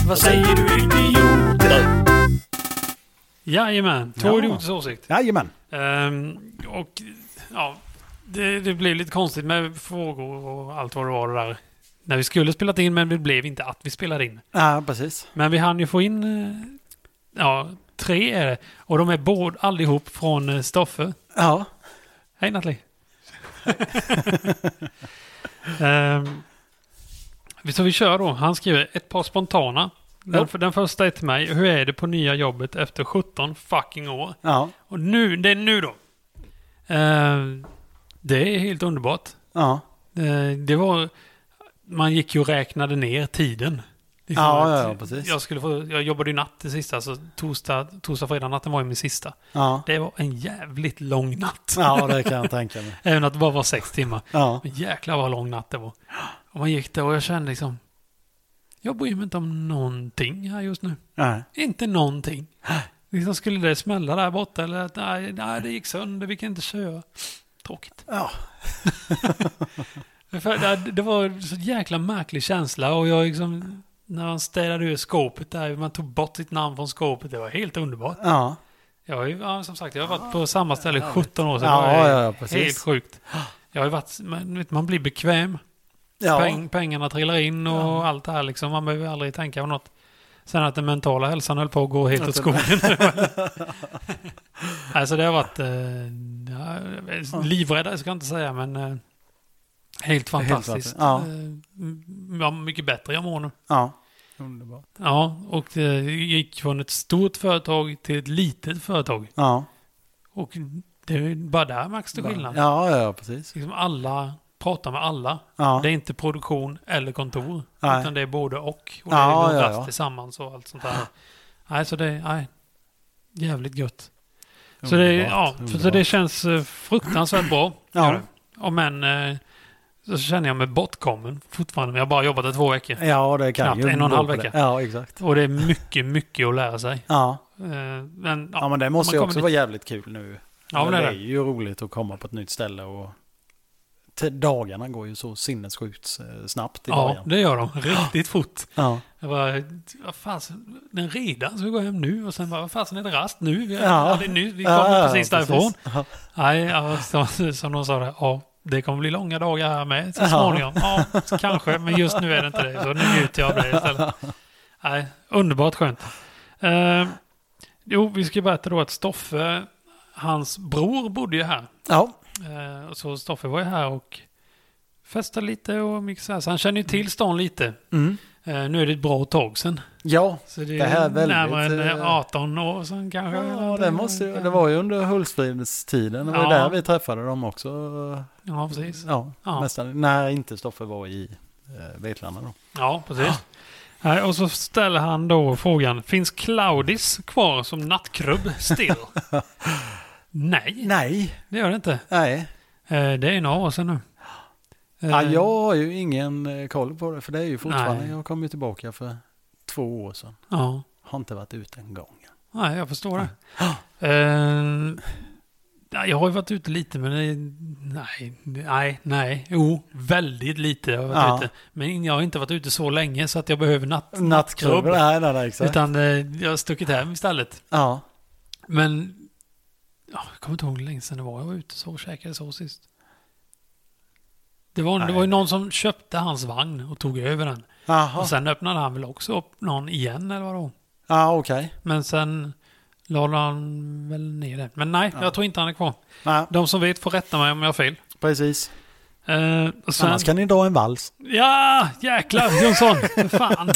[SPEAKER 2] Vad säger du idioter? Jajamän, två
[SPEAKER 1] Ja.
[SPEAKER 2] idioters åsikt.
[SPEAKER 1] Jajamän.
[SPEAKER 2] Ehm, och ja, det, det blev lite konstigt med frågor och allt vad det var det där. När vi skulle spelat in, men det blev inte att vi spelade in.
[SPEAKER 1] Ja, precis.
[SPEAKER 2] Men vi hann ju få in, eh, ja, tre är det. Och de är båda allihop från eh, Stoffe.
[SPEAKER 1] Ja, (laughs)
[SPEAKER 2] Hej Nathalie! Ehm, så vi kör då. Han skriver ett par spontana. Den, den första är till mig. Hur är det på nya jobbet efter 17 fucking år?
[SPEAKER 1] ja,
[SPEAKER 2] Och nu, det är nu då. Ehm, det är helt underbart.
[SPEAKER 1] ja.
[SPEAKER 2] Eh, Det var... Man gick ju och räknade ner tiden. Liksom
[SPEAKER 1] Ja, ja,
[SPEAKER 2] att
[SPEAKER 1] ja, precis.
[SPEAKER 2] Jag, skulle få, jag jobbade ju natt det sista, så torsdag, torsdag fredag natten var ju min sista.
[SPEAKER 1] Ja,
[SPEAKER 2] Det var en jävligt lång natt.
[SPEAKER 1] ja det kan jag tänka mig.
[SPEAKER 2] (laughs) Även att det bara var sex timmar.
[SPEAKER 1] Ja,
[SPEAKER 2] Men jäklar vad lång natt det var. Och man gick där och jag kände liksom... Jag bryr mig inte om någonting här just nu.
[SPEAKER 1] nej.
[SPEAKER 2] Inte någonting. Liksom skulle det smälla där borta eller att nej, nej, det gick sönder, vi kan inte köra. Tråkigt.
[SPEAKER 1] Ja,
[SPEAKER 2] För det, det var en så jäkla märklig känsla och jag liksom, när man städade ur skåpet där, man tog bort sitt namn från skåpet, det var helt underbart.
[SPEAKER 1] ja,
[SPEAKER 2] Jag har ju, ja, som sagt, jag har varit på samma ställe i 17 år, så
[SPEAKER 1] Ja,
[SPEAKER 2] det var
[SPEAKER 1] ja, ja, precis.
[SPEAKER 2] helt sjukt. Jag har ju varit, man, vet, man blir bekväm,
[SPEAKER 1] ja.
[SPEAKER 2] Peng, pengarna trillar in och allt det här liksom, man behöver aldrig tänka på något. Sen att den mentala hälsan höll på att gå helt
[SPEAKER 1] (laughs)
[SPEAKER 2] åt skogen. (laughs) alltså det har varit eh, ja, livrädda, ska jag inte säga, men eh, helt fantastiskt.
[SPEAKER 1] fantastiskt, ja.
[SPEAKER 2] Eh, m- ja, mycket bättre jag mår nu.
[SPEAKER 1] ja. Underbart.
[SPEAKER 2] Ja, och det gick från ett stort företag till ett litet företag.
[SPEAKER 1] Ja,
[SPEAKER 2] Och det är bara där märks det skillnad.
[SPEAKER 1] ja, ja, precis.
[SPEAKER 2] Liksom alla pratar med alla.
[SPEAKER 1] Ja,
[SPEAKER 2] Det är inte produktion eller kontor,
[SPEAKER 1] Nej.
[SPEAKER 2] utan det är både och. Och
[SPEAKER 1] Ja,
[SPEAKER 2] det är
[SPEAKER 1] ja,
[SPEAKER 2] rast
[SPEAKER 1] ja.
[SPEAKER 2] tillsammans och allt sånt där. Nej, så det är nej, jävligt gött. Så det, är- ja,
[SPEAKER 1] Underbart,
[SPEAKER 2] för, så det känns eh, fruktansvärt bra.
[SPEAKER 1] Ja.
[SPEAKER 2] Gör det. Och men eh, så känner jag mig bortkommen fortfarande. men Jag har bara jobbat i två veckor.
[SPEAKER 1] ja, det kan
[SPEAKER 2] Knappt
[SPEAKER 1] ju
[SPEAKER 2] en och en
[SPEAKER 1] gå
[SPEAKER 2] halv
[SPEAKER 1] på det.
[SPEAKER 2] vecka.
[SPEAKER 1] Ja, exakt.
[SPEAKER 2] Och det är mycket, mycket att lära sig.
[SPEAKER 1] Ja,
[SPEAKER 2] Eh, Men,
[SPEAKER 1] ja men det måste ju
[SPEAKER 2] man
[SPEAKER 1] också
[SPEAKER 2] kommer
[SPEAKER 1] vara jävligt kul nu.
[SPEAKER 2] Ja, men det är
[SPEAKER 1] är
[SPEAKER 2] det.
[SPEAKER 1] ju roligt att komma på ett nytt ställe och t- dagarna går ju så sinnessjukt eh, snabbt i
[SPEAKER 2] Ja,
[SPEAKER 1] början.
[SPEAKER 2] det gör de. Riktigt fort.
[SPEAKER 1] Ja,
[SPEAKER 2] Jag bara, vad fasen, den redan ska vi gå hem nu och sen bara, vad fasen är det rast nu? Vi,
[SPEAKER 1] Ja.
[SPEAKER 2] ja. det är nu, vi kommer
[SPEAKER 1] Ja, ja,
[SPEAKER 2] precis
[SPEAKER 1] ja,
[SPEAKER 2] därifrån.
[SPEAKER 1] Ja.
[SPEAKER 2] Nej, ja, som, som de sa, det, ja, det kommer bli långa dagar här med så
[SPEAKER 1] Ja.
[SPEAKER 2] småningom. Ja, kanske, men just nu är det inte det. Så nu njuter jag av det istället. Nej, underbart skönt. Eh, jo, vi ska berätta då att Stoffe, hans bror bodde ju här.
[SPEAKER 1] ja,
[SPEAKER 2] Eh, och så Stoffe var ju här och festade lite och mycket så här. Så han känner ju till stan lite.
[SPEAKER 1] mm.
[SPEAKER 2] Eh, nu är det ett bra tag sedan.
[SPEAKER 1] ja.
[SPEAKER 2] Så det,
[SPEAKER 1] Det här är
[SPEAKER 2] är
[SPEAKER 1] väldigt,
[SPEAKER 2] närmare än
[SPEAKER 1] eh,
[SPEAKER 2] eh, 18 år sedan kanske.
[SPEAKER 1] Ja, det, måste, ju- det var ju under Hultsfredstiden. Det var ju
[SPEAKER 2] Ja.
[SPEAKER 1] där vi träffade dem också.
[SPEAKER 2] Ja, precis.
[SPEAKER 1] Ja,
[SPEAKER 2] Ja.
[SPEAKER 1] Nästan, när inte Stoffe var i eh, Vetlanda då.
[SPEAKER 2] Ja, precis. Nej, Och så ställer han då frågan, finns Claudis kvar som nattklubb
[SPEAKER 1] (laughs)
[SPEAKER 2] still? Nej,
[SPEAKER 1] Nej,
[SPEAKER 2] det gör det inte.
[SPEAKER 1] nej.
[SPEAKER 2] Eh, Det är några år sedan nu. Eh,
[SPEAKER 1] Ja, jag har ju ingen eh, koll på det för det är ju fortfarande,
[SPEAKER 2] Nej.
[SPEAKER 1] jag kom ju tillbaka för två år sedan.
[SPEAKER 2] Ja,
[SPEAKER 1] Har inte varit ute en gång.
[SPEAKER 2] nej, jag förstår det. Eh, ja, Jag har ju varit ute lite, men det- nej, nej, nej, jo, väldigt lite har jag varit
[SPEAKER 1] Ja.
[SPEAKER 2] ute. Men jag har inte varit ute så länge så att jag behöver natt,
[SPEAKER 1] Nattklubb,
[SPEAKER 2] nattklubb.
[SPEAKER 1] nej, nej, nej, exakt.
[SPEAKER 2] Utan eh, jag har stuckit hem istället.
[SPEAKER 1] Ja,
[SPEAKER 2] Men ja, jag kommer inte ihåg hur länge sedan det var jag var ute så och käkade så sist. Det var, det
[SPEAKER 1] Nej. Ah.
[SPEAKER 2] var ju någon som köpte hans vagn och tog över den.
[SPEAKER 1] jaha,
[SPEAKER 2] Och sen öppnade han väl också upp någon igen eller vad det var.
[SPEAKER 1] ja okej.
[SPEAKER 2] Men sen lade han väl ner den. Men nej,
[SPEAKER 1] Ja.
[SPEAKER 2] jag tror inte han är kvar.
[SPEAKER 1] Nej,
[SPEAKER 2] De som vet får rätta mig om jag har fel.
[SPEAKER 1] precis.
[SPEAKER 2] Eh, och sen,
[SPEAKER 1] Annars kan ni dra en vals.
[SPEAKER 2] Ja, jäklar Jonsson! För Fan!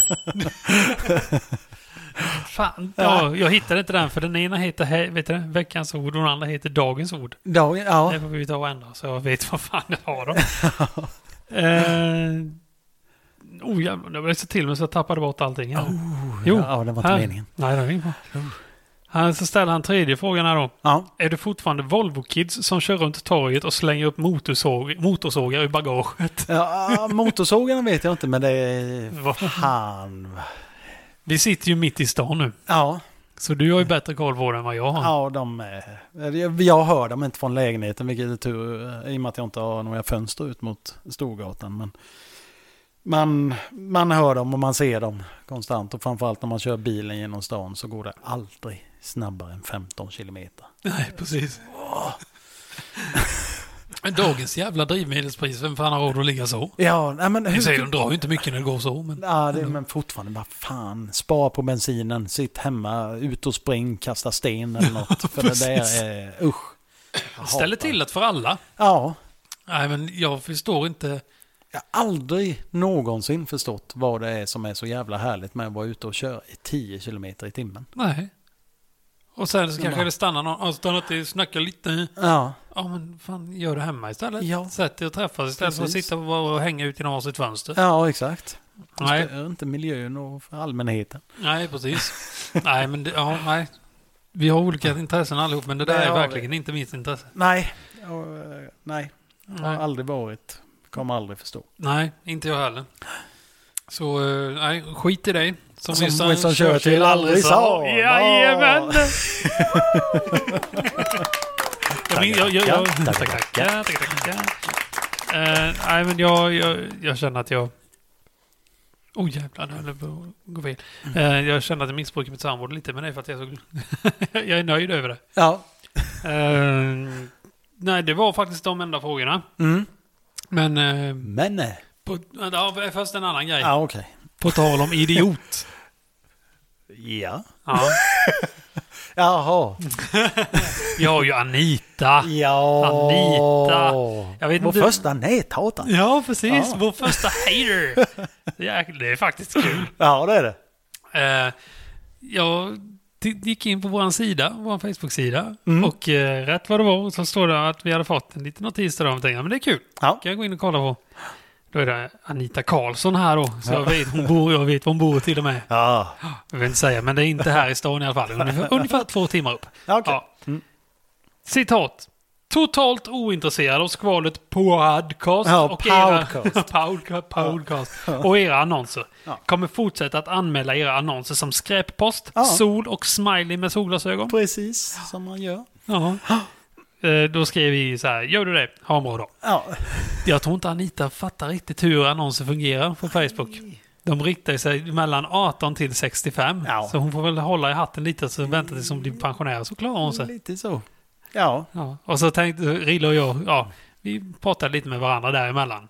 [SPEAKER 2] Fan, ja, jag hittade inte den för den ena heter he- vet du, det? veckans ord och den andra heter dagens ord.
[SPEAKER 1] Dag, ja,
[SPEAKER 2] Det får vi ta och ändra så jag vet vad fan jag har dem.
[SPEAKER 1] (laughs)
[SPEAKER 2] eh, oh jävlar, det blev så till mig så jag tappade bort allting. här. jo,
[SPEAKER 1] ja, det var inte
[SPEAKER 2] här.
[SPEAKER 1] meningen.
[SPEAKER 2] Nej, det var ingen fara. Här så ställer han tredje frågan här då.
[SPEAKER 1] Ja,
[SPEAKER 2] Är det fortfarande Volvo-kids som kör runt torget och slänger upp motorsåg, motorsågar i bagaget?
[SPEAKER 1] ja motorsågarna vet jag inte men det är...
[SPEAKER 2] Vad
[SPEAKER 1] Han...
[SPEAKER 2] Vi sitter ju mitt i stan nu.
[SPEAKER 1] Ja,
[SPEAKER 2] Så du har ju bättre koll på det än vad jag har.
[SPEAKER 1] ja de är... jag- Jag hör dem inte från lägenheten vilket är tur eh, i och med att jag inte har några fönster ut mot Storgatan. Men man, man hör dem och man ser dem konstant och framförallt när man kör bilen genom stan så går det aldrig snabbare än 15 kilometer.
[SPEAKER 2] Nej, precis. Men dagens jävla drivmedelspris, vem fan har råd att ligga så?
[SPEAKER 1] Ja, nej, men
[SPEAKER 2] Ni säger
[SPEAKER 1] hur...
[SPEAKER 2] de drar ju inte mycket när det går så, men...
[SPEAKER 1] Ja, det, men fortfarande bara fan, spara på bensinen, sitt hemma, ut och spring, kasta sten eller något. För det
[SPEAKER 2] precis.
[SPEAKER 1] där är, usch. Jag
[SPEAKER 2] Ställer
[SPEAKER 1] hatar.
[SPEAKER 2] till det för alla.
[SPEAKER 1] Ja,
[SPEAKER 2] Nej, men jag förstår inte.
[SPEAKER 1] jag har aldrig någonsin förstått vad det är som är så jävla härligt med att vara ute och köra i 10 kilometer i timmen.
[SPEAKER 2] Nej. Och sen så kanske
[SPEAKER 1] bara-
[SPEAKER 2] det stannar någon, ja, stannar till, snackar lite.
[SPEAKER 1] Ja,
[SPEAKER 2] Ja, men fan, gör det hemma istället.
[SPEAKER 1] Ja.
[SPEAKER 2] Sätt dig och träffas istället för att
[SPEAKER 1] Precis.
[SPEAKER 2] sitta och bara hänga ut genom varsitt fönster.
[SPEAKER 1] ja exakt.
[SPEAKER 2] Nej,
[SPEAKER 1] Stör inte miljön och för allmänheten.
[SPEAKER 2] nej, (laughs) precis. nej, men det, ja, nej. Vi har olika intressen allihop, men det där
[SPEAKER 1] Det
[SPEAKER 2] är
[SPEAKER 1] har vi.
[SPEAKER 2] verkligen inte mitt intresse.
[SPEAKER 1] Nej, och, eh, nej, jag har
[SPEAKER 2] Nej.
[SPEAKER 1] aldrig varit, kommer aldrig förstå.
[SPEAKER 2] Nej, inte jag heller. Så eh, nej, skit i dig. Som, Winston,
[SPEAKER 1] Churchill aldrig sa.
[SPEAKER 2] Jajamän!
[SPEAKER 1] Ja.
[SPEAKER 2] Jag min- jag- jag- jag- Tackar, tackar, tackar. Eh, Nej, men jag, jag, jag känner att jag... Oh jävlar, det höll på att gå fel. Eh, jag känner att jag missbrukar mitt samvård lite, men det är för att jag är så... (laughs) jag är nöjd över det.
[SPEAKER 1] Ja.
[SPEAKER 2] Eh, nej, det var faktiskt de enda frågorna.
[SPEAKER 1] Mm.
[SPEAKER 2] Men... eh,
[SPEAKER 1] Men nej.
[SPEAKER 2] på, ja, först en annan grej.
[SPEAKER 1] Ja, okej.
[SPEAKER 2] På tal om idiot. (laughs)
[SPEAKER 1] Ja.
[SPEAKER 2] ja.
[SPEAKER 1] Jaha.
[SPEAKER 2] Vi har ju Anita.
[SPEAKER 1] Ja.
[SPEAKER 2] Anita. Jag vet
[SPEAKER 1] Vår
[SPEAKER 2] inte-
[SPEAKER 1] första näthatare.
[SPEAKER 2] Ja, precis.
[SPEAKER 1] Ja.
[SPEAKER 2] Vår
[SPEAKER 1] (laughs)
[SPEAKER 2] första hater. Det är, det är faktiskt kul.
[SPEAKER 1] Ja, det är det.
[SPEAKER 2] Eh, jag t- gick in på vår sida, vår Facebook-sida.
[SPEAKER 1] Mm.
[SPEAKER 2] Och eh, rätt vad det var så står det att vi hade fått en liten notis där om tänkte, ja men det är kul.
[SPEAKER 1] Ja.
[SPEAKER 2] Kan jag gå in och kolla på. Då är det Anita Karlsson här då. Så jag vet hon bor, jag vet var hon bor till och med.
[SPEAKER 1] Ja.
[SPEAKER 2] Jag vill inte säga, men det är inte här i stan i alla fall. Ungefär, ungefär två timmar upp.
[SPEAKER 1] Ja, okej.
[SPEAKER 2] Ja. Citat. Totalt ointresserad av skvadret podcast,
[SPEAKER 1] Ja,
[SPEAKER 2] och era,
[SPEAKER 1] podcast.
[SPEAKER 2] Podca- (laughs) podcast och era annonser. Kommer fortsätta att anmäla era annonser som skräppost,
[SPEAKER 1] Ja.
[SPEAKER 2] sol och smiley med solglasögon.
[SPEAKER 1] Precis som man gör. (gasps)
[SPEAKER 2] Ja. Eh, Då skrev vi så här, gör du det, ha en bra dag.
[SPEAKER 1] Ja.
[SPEAKER 2] Jag tror inte Anita fattar riktigt hur annonser fungerar på Facebook. De riktar sig mellan 18 till 65.
[SPEAKER 1] Ja.
[SPEAKER 2] Så hon får väl hålla i hatten lite så vänta tills hon blir pensionär så klarar hon sig.
[SPEAKER 1] Lite så. Ja.
[SPEAKER 2] Ja. Och så tänkte Rille och jag, ja, vi pratade lite med varandra däremellan.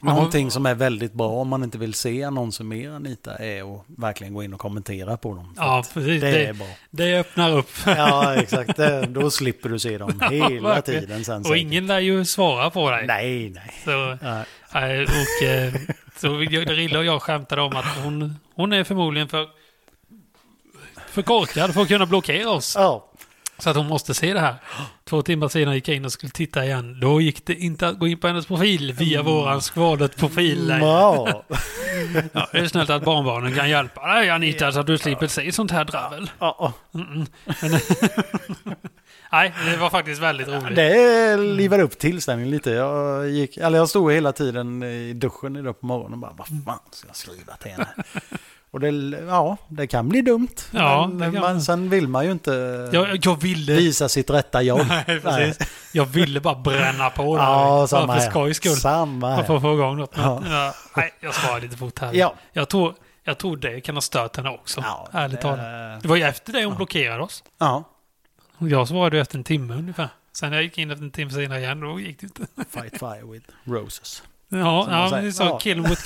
[SPEAKER 2] Men
[SPEAKER 1] Någonting som är väldigt bra om man inte vill se annonser mer Anita är att verkligen gå in och kommentera på dem. För
[SPEAKER 2] Ja,
[SPEAKER 1] att
[SPEAKER 2] precis.
[SPEAKER 1] det,
[SPEAKER 2] Det,
[SPEAKER 1] är bra.
[SPEAKER 2] det öppnar upp.
[SPEAKER 1] (laughs) Ja, exakt. Det- Då slipper du se dem hela
[SPEAKER 2] verkligen.
[SPEAKER 1] tiden sen.
[SPEAKER 2] Och
[SPEAKER 1] säkert.
[SPEAKER 2] ingen lär ju svara på dig.
[SPEAKER 1] Nej, nej.
[SPEAKER 2] Så,
[SPEAKER 1] Nej.
[SPEAKER 2] nej, och, eh, så vi- Rille och jag skämtade om att hon, hon är förmodligen för, för korkad för att kunna blockera oss.
[SPEAKER 1] Ja.
[SPEAKER 2] Så att hon måste se det här. Två timmar senare gick jag in och skulle titta igen. Då gick det inte att gå in på hennes profil via
[SPEAKER 1] Mm.
[SPEAKER 2] våran skvadret-profil. längre.
[SPEAKER 1] Ja.
[SPEAKER 2] Ja, det är snällt att barnbarnen kan hjälpa dig Anita så att du slipper se sånt här dravel.
[SPEAKER 1] Ja.
[SPEAKER 2] Nej, det var faktiskt väldigt roligt.
[SPEAKER 1] Det livar upp tillställningen lite. Jag, gick, eller jag stod hela tiden i duschen idag på morgonen och bara vad fan ska jag skriva till
[SPEAKER 2] (laughs)
[SPEAKER 1] henne? och det, ja, det kan bli dumt.
[SPEAKER 2] Ja, det
[SPEAKER 1] men
[SPEAKER 2] kan
[SPEAKER 1] man,
[SPEAKER 2] det.
[SPEAKER 1] sen vill man ju inte
[SPEAKER 2] Jag, jag ville...
[SPEAKER 1] visa sitt rätta jag.
[SPEAKER 2] (laughs) Nej, precis. Jag ville bara bränna på det.
[SPEAKER 1] Ja, samma
[SPEAKER 2] Bara för
[SPEAKER 1] här.
[SPEAKER 2] skojs skull.
[SPEAKER 1] Samma
[SPEAKER 2] Jag får
[SPEAKER 1] här.
[SPEAKER 2] få igång något. Men,
[SPEAKER 1] Ja.
[SPEAKER 2] ja. nej, jag svarar lite fort här.
[SPEAKER 1] Ja.
[SPEAKER 2] Jag, tror, jag tror det kan ha stört henne också.
[SPEAKER 1] Ja,
[SPEAKER 2] ärligt
[SPEAKER 1] det-
[SPEAKER 2] talat. Det var ju efter det hon blockerade oss.
[SPEAKER 1] Eh, Ja,
[SPEAKER 2] Och jag svarade ju efter en timme ungefär. Sen när jag gick in efter en timme senare igen, då gick det inte.
[SPEAKER 1] fight fire with roses.
[SPEAKER 2] Ja,
[SPEAKER 1] man säger.
[SPEAKER 2] ja men det är så.
[SPEAKER 1] Ja.
[SPEAKER 2] Kill 'em with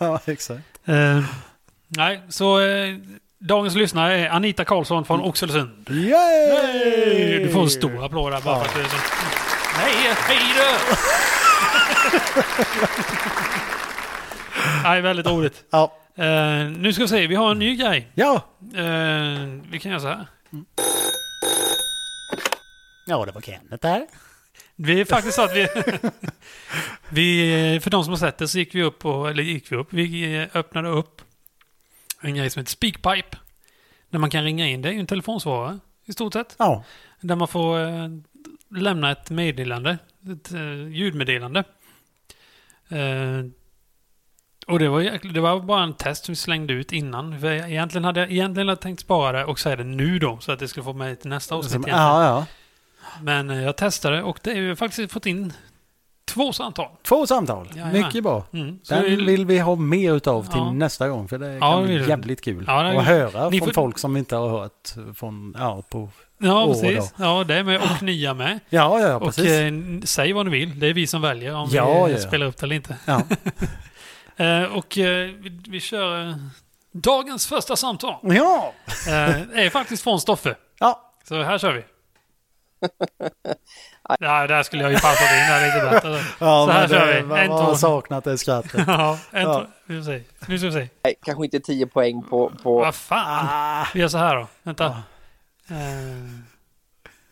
[SPEAKER 1] (laughs) Ja, exakt.
[SPEAKER 2] Eh, nej, så eh, dagens lyssnare är Anita Karlsson från
[SPEAKER 1] Mm.
[SPEAKER 2] Oxelösund.
[SPEAKER 1] Yay!
[SPEAKER 2] Du får en stor applåd där bara
[SPEAKER 1] Ja.
[SPEAKER 2] för att du är så... Nej, hej du! Nej, väldigt roligt.
[SPEAKER 1] Ja.
[SPEAKER 2] Eh, nu ska vi se, vi har en ny grej.
[SPEAKER 1] Ja.
[SPEAKER 2] Eh, vi kan göra så här.
[SPEAKER 1] ja, det var Kenneth där.
[SPEAKER 2] Vi är faktiskt så att vi... (laughs) vi eh, för de som har sett det så gick vi upp och, eller gick vi upp, vi eh, öppnade upp en grej som heter Speakpipe. Där man kan ringa in, det är ju en telefonsvarare i stort sett.
[SPEAKER 1] Ja.
[SPEAKER 2] Där man får eh, lämna ett meddelande, ett eh, ljudmeddelande. Eh, och det var, jäkla- det var bara en test som vi slängde ut innan. För jag- egentligen hade jag egentligen hade jag tänkt spara det och säga det nu då, så att det skulle få med till nästa avsnitt.
[SPEAKER 1] Som,
[SPEAKER 2] egentligen.
[SPEAKER 1] ja, ja.
[SPEAKER 2] Men eh, jag testade och det är ju faktiskt fått in två samtal.
[SPEAKER 1] Två samtal.
[SPEAKER 2] Ja, ja.
[SPEAKER 1] Mycket bra.
[SPEAKER 2] Mm. Så vi-
[SPEAKER 1] Den vill vi ha mer utav till
[SPEAKER 2] Ja.
[SPEAKER 1] nästa gång för det
[SPEAKER 2] Ja,
[SPEAKER 1] kan
[SPEAKER 2] det
[SPEAKER 1] bli
[SPEAKER 2] vill vi.
[SPEAKER 1] jävligt kul
[SPEAKER 2] Ja, det-
[SPEAKER 1] att höra
[SPEAKER 2] Ni
[SPEAKER 1] från
[SPEAKER 2] får-
[SPEAKER 1] folk som inte har hört från, ja, på
[SPEAKER 2] Ja,
[SPEAKER 1] år
[SPEAKER 2] precis.
[SPEAKER 1] då.
[SPEAKER 2] Ja, det är med och nya med.
[SPEAKER 1] Ja, ja, ja
[SPEAKER 2] och
[SPEAKER 1] precis.
[SPEAKER 2] eh, säg vad ni vill. Det är vi som väljer om
[SPEAKER 1] Ja,
[SPEAKER 2] vi eh,
[SPEAKER 1] ja, ja.
[SPEAKER 2] spelar upp det eller inte.
[SPEAKER 1] ja.
[SPEAKER 2] (laughs) Eh, och eh, vi, vi kör eh, dagens första samtal.
[SPEAKER 1] ja.
[SPEAKER 2] Eh, är faktiskt från Stoffe.
[SPEAKER 1] ja.
[SPEAKER 2] Så här kör vi. ja, där skulle jag ju passat in här lite bättre.
[SPEAKER 1] (laughs) Ja,
[SPEAKER 2] så
[SPEAKER 1] men
[SPEAKER 2] här kör
[SPEAKER 1] det-
[SPEAKER 2] vi.
[SPEAKER 1] vad-
[SPEAKER 2] En
[SPEAKER 1] vad har
[SPEAKER 2] ton.
[SPEAKER 1] saknat det skrattet.
[SPEAKER 2] Ja, en
[SPEAKER 1] Ja.
[SPEAKER 2] ton. Vi får se. Nu ska vi se.
[SPEAKER 4] Nej, kanske inte 10 poäng på... på
[SPEAKER 2] Vad fan.
[SPEAKER 1] Ah,
[SPEAKER 2] Vi gör så här då. Vänta. Eh,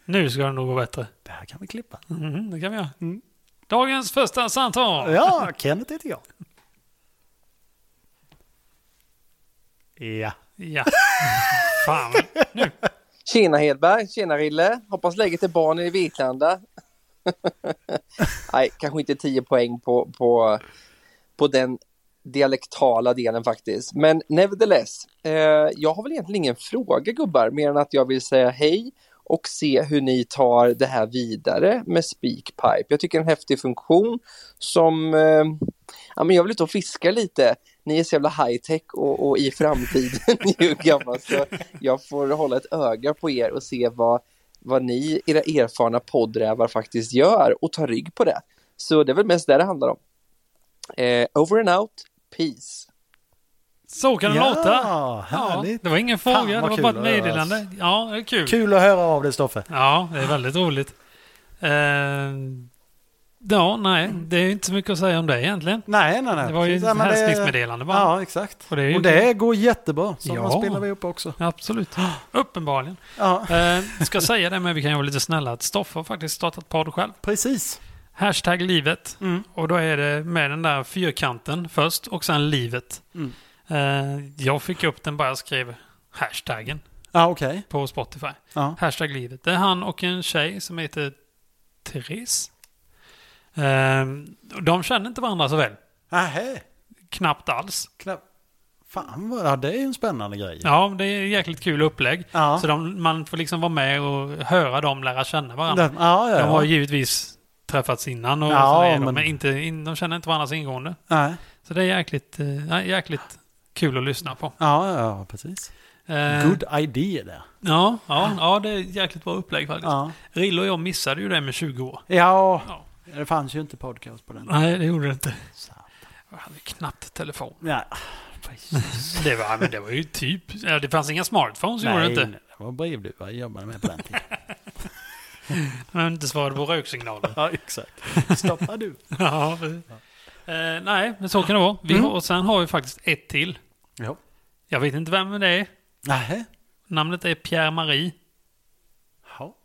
[SPEAKER 2] nu ska det nog gå bättre.
[SPEAKER 1] (laughs) det här Mm, kan vi klippa.
[SPEAKER 2] Mhm, det kan vi göra. Dagens första samtal.
[SPEAKER 1] Ja, Kenneth heter jag. Ja.
[SPEAKER 2] Ja. (laughs) Fan. Nu.
[SPEAKER 4] tjena Hedberg, tjena Rille. Hoppas läget är barn i Vitlanda. (laughs) Nej, kanske inte 10 poäng på, på, på den dialektala delen faktiskt. Men nevertheless, eh, jag har väl egentligen ingen fråga gubbar, mer än att jag vill säga hej och se hur ni tar det här vidare med Speakpipe. Jag tycker det är en häftig funktion som eh, ja, men jag vill ut och fiska lite. Ni är så jävla high-tech och, och i framtiden (laughs) ju gammal så jag får hålla ett öga på er och se vad, vad ni, era erfarna poddrävar faktiskt gör och ta rygg på det. Så det är väl mest det det handlar om. Eh, over and out, peace.
[SPEAKER 2] Så kan det
[SPEAKER 1] ja,
[SPEAKER 2] låta. Ja,
[SPEAKER 1] Härligt.
[SPEAKER 2] det var ingen
[SPEAKER 1] Fan,
[SPEAKER 2] fråga, det
[SPEAKER 1] vad
[SPEAKER 2] var
[SPEAKER 1] kul
[SPEAKER 2] bara
[SPEAKER 1] att
[SPEAKER 2] ett
[SPEAKER 1] höra,
[SPEAKER 2] meddelande. Ja, det är kul.
[SPEAKER 1] Kul att höra av dig, Stoffe.
[SPEAKER 2] Ja, det är väldigt roligt. Eh, ja, nej, det är inte så mycket att säga om det egentligen.
[SPEAKER 1] Nej, nej, nej.
[SPEAKER 2] Det var ju
[SPEAKER 1] Precis,
[SPEAKER 2] ett
[SPEAKER 1] nej, men det-
[SPEAKER 2] hälsningsmeddelande bara.
[SPEAKER 1] Ja, exakt.
[SPEAKER 2] Och det är ju-
[SPEAKER 1] Och det går jättebra. Så
[SPEAKER 2] Ja.
[SPEAKER 1] ja. spelar vi upp också.
[SPEAKER 2] Absolut. Uppenbarligen.
[SPEAKER 1] Ja,
[SPEAKER 2] Eh, ska säga det, men vi kan ju vara lite snälla. Att Stoffe har faktiskt startat podd själv.
[SPEAKER 1] precis.
[SPEAKER 2] Hashtag livet. Och då är det med den där fyrkanten först och sen livet.
[SPEAKER 1] Mm.
[SPEAKER 2] Eh, jag fick upp den bara jag skrev hashtaggen
[SPEAKER 1] Ja, okej.
[SPEAKER 2] på Spotify.
[SPEAKER 1] Ja.
[SPEAKER 2] Hashtag livet. Det är han och en tjej som heter Therese. Ehm, de känner inte varandra så väl.
[SPEAKER 1] Nähä.
[SPEAKER 2] Knappt alls.
[SPEAKER 1] Knä- Fan, vad, ja, det är ju en spännande grej.
[SPEAKER 2] Ja, det är jäkligt kul upplägg.
[SPEAKER 1] Ja.
[SPEAKER 2] Så de, man får liksom vara med och höra dem lära känna
[SPEAKER 1] Ja,
[SPEAKER 2] varandra.
[SPEAKER 1] ja, ja.
[SPEAKER 2] De har givetvis träffats innan och
[SPEAKER 1] Ja,
[SPEAKER 2] så är de,
[SPEAKER 1] men-
[SPEAKER 2] men inte, in, de känner inte varandra så ingående.
[SPEAKER 1] Nej.
[SPEAKER 2] Så det är jäkligt, eh, ja, jäkligt kul att lyssna på.
[SPEAKER 1] Ja, ja, ja, precis.
[SPEAKER 2] Eh,
[SPEAKER 1] Good idea där.
[SPEAKER 2] Ja, ja, ja, det är ett jäkligt bra upplägg faktiskt.
[SPEAKER 1] Ja.
[SPEAKER 2] Rille och jag missade ju det med 20 år.
[SPEAKER 1] Ja,
[SPEAKER 2] Ja.
[SPEAKER 1] det fanns ju inte podcast på den.
[SPEAKER 2] Nej, det gjorde det inte.
[SPEAKER 1] Så.
[SPEAKER 2] Jag hade knappt telefon.
[SPEAKER 1] Nej, precis.
[SPEAKER 2] (laughs) Det var, men det var ju typ... ja, Det fanns inga smartphones, gjorde det
[SPEAKER 1] Nej,
[SPEAKER 2] inte.
[SPEAKER 1] det var brevduva jag jobbade med på den
[SPEAKER 2] (laughs)
[SPEAKER 1] tiden.
[SPEAKER 2] Men inte svarade på röksignaler.
[SPEAKER 1] ja, exakt. Stoppa du.
[SPEAKER 2] (laughs) ja, precis. eh, nej, men så kan det vara. Vi har, och sen har vi faktiskt ett till.
[SPEAKER 1] Ja.
[SPEAKER 2] Jag vet inte vem det är.
[SPEAKER 1] Nähä.
[SPEAKER 2] Namnet är Pierre-Marie.
[SPEAKER 1] Ja.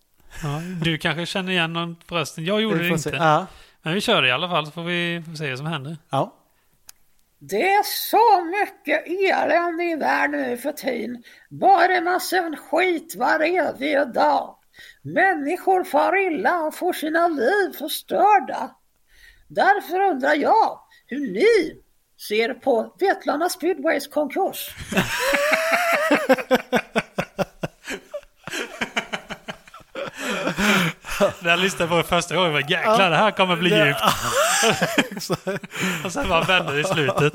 [SPEAKER 2] Ja, du kanske känner igen någon på rösten. Jag gjorde
[SPEAKER 1] Vi
[SPEAKER 2] det
[SPEAKER 1] får
[SPEAKER 2] inte.
[SPEAKER 1] se. Ja.
[SPEAKER 2] Men vi kör det i alla fall så får vi, får vi se vad som händer.
[SPEAKER 1] ja.
[SPEAKER 5] Det är så mycket elände i världen nu för tiden. Bara en massa skit varje dag. Människor far illa och får sina liv förstörda. Därför undrar jag hur ni ser på Vetlanda Speedways konkurs.
[SPEAKER 2] Den här listan var första gången. Jag bara, Jäklar, det här kommer bli djupt. (laughs) och sen bara vände det i slutet.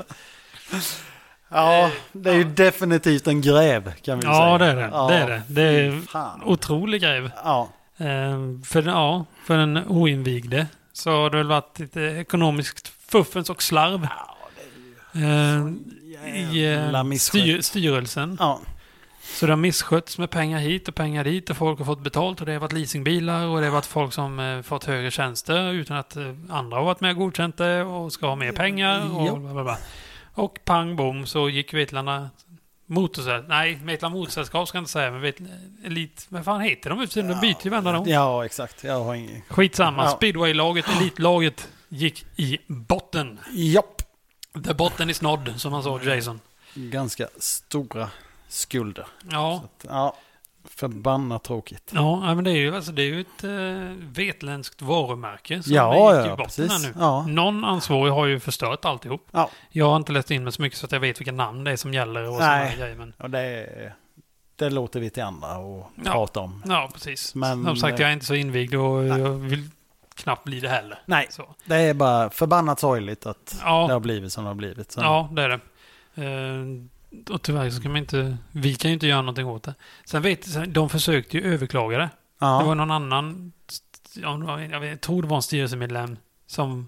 [SPEAKER 1] Ja, det är ju definitivt en gräv kan vi säga.
[SPEAKER 2] Eh, Ja, det är det.
[SPEAKER 1] Ja,
[SPEAKER 2] det, är det. det är
[SPEAKER 1] fy fan.
[SPEAKER 2] otrolig grej.
[SPEAKER 1] Ja,
[SPEAKER 2] Eh, för, ja, för den oinvigde så har det väl varit lite ekonomiskt fuffens och slarv. Eh, I
[SPEAKER 1] jävla
[SPEAKER 2] eh,
[SPEAKER 1] misskött.
[SPEAKER 2] styr, styrelsen.
[SPEAKER 1] ja,
[SPEAKER 2] Så det har misskötts med pengar hit och pengar dit och folk har fått betalt och det har varit leasingbilar och det har varit folk som eh, fått högre tjänster utan att eh, andra har varit med och godkänt det och ska ha mer pengar
[SPEAKER 1] Ja.
[SPEAKER 2] och bla bla bla. Och pang bom så gick Vetlanda motorsällskap, nej Vetlanda motorsällskap ska jag inte säga men Vet, elit, vad fan heter de nu för tiden? De byter ju varenda gång.
[SPEAKER 1] ja exakt. Jag har ingen...
[SPEAKER 2] Skitsamma,
[SPEAKER 1] Ja.
[SPEAKER 2] speedwaylaget, elitlaget gick i botten.
[SPEAKER 1] Japp.
[SPEAKER 2] The botten is nod som han sa Jason.
[SPEAKER 1] Ganska stora skulder.
[SPEAKER 2] Ja,
[SPEAKER 1] Ja, förbannat tråkigt.
[SPEAKER 2] Ja, ja, men det är ju, alltså, det är ju ett eh, vetländskt varumärke som
[SPEAKER 1] Ja,
[SPEAKER 2] är
[SPEAKER 1] ja,
[SPEAKER 2] i botten
[SPEAKER 1] precis.
[SPEAKER 2] här nu.
[SPEAKER 1] Ja.
[SPEAKER 2] Någon ansvarig har ju förstört alltihop.
[SPEAKER 1] Ja,
[SPEAKER 2] Jag har inte läst in mig så mycket så att jag vet vilka namn det är som gäller och sådana
[SPEAKER 1] Nej.
[SPEAKER 2] här grejer. Men,
[SPEAKER 1] och det, är- det låter vi till andra att
[SPEAKER 2] Ja.
[SPEAKER 1] prata om.
[SPEAKER 2] ja, precis.
[SPEAKER 1] Men-
[SPEAKER 2] Som sagt, jag är inte så invigd och jag vill knappt bli det heller.
[SPEAKER 1] Nej,
[SPEAKER 2] Så.
[SPEAKER 1] det är bara förbannat sorgligt att
[SPEAKER 2] Ja.
[SPEAKER 1] det har blivit som det har blivit. Så,
[SPEAKER 2] Ja, det är det. Eh, Och tyvärr så kan man inte, vi kan ju inte göra någonting åt det. Sen vet, sen- de försökte ju överklaga det.
[SPEAKER 1] Ja,
[SPEAKER 2] Det var någon annan, jag, vet- jag, vet- jag tror det var en styrelsemedlem som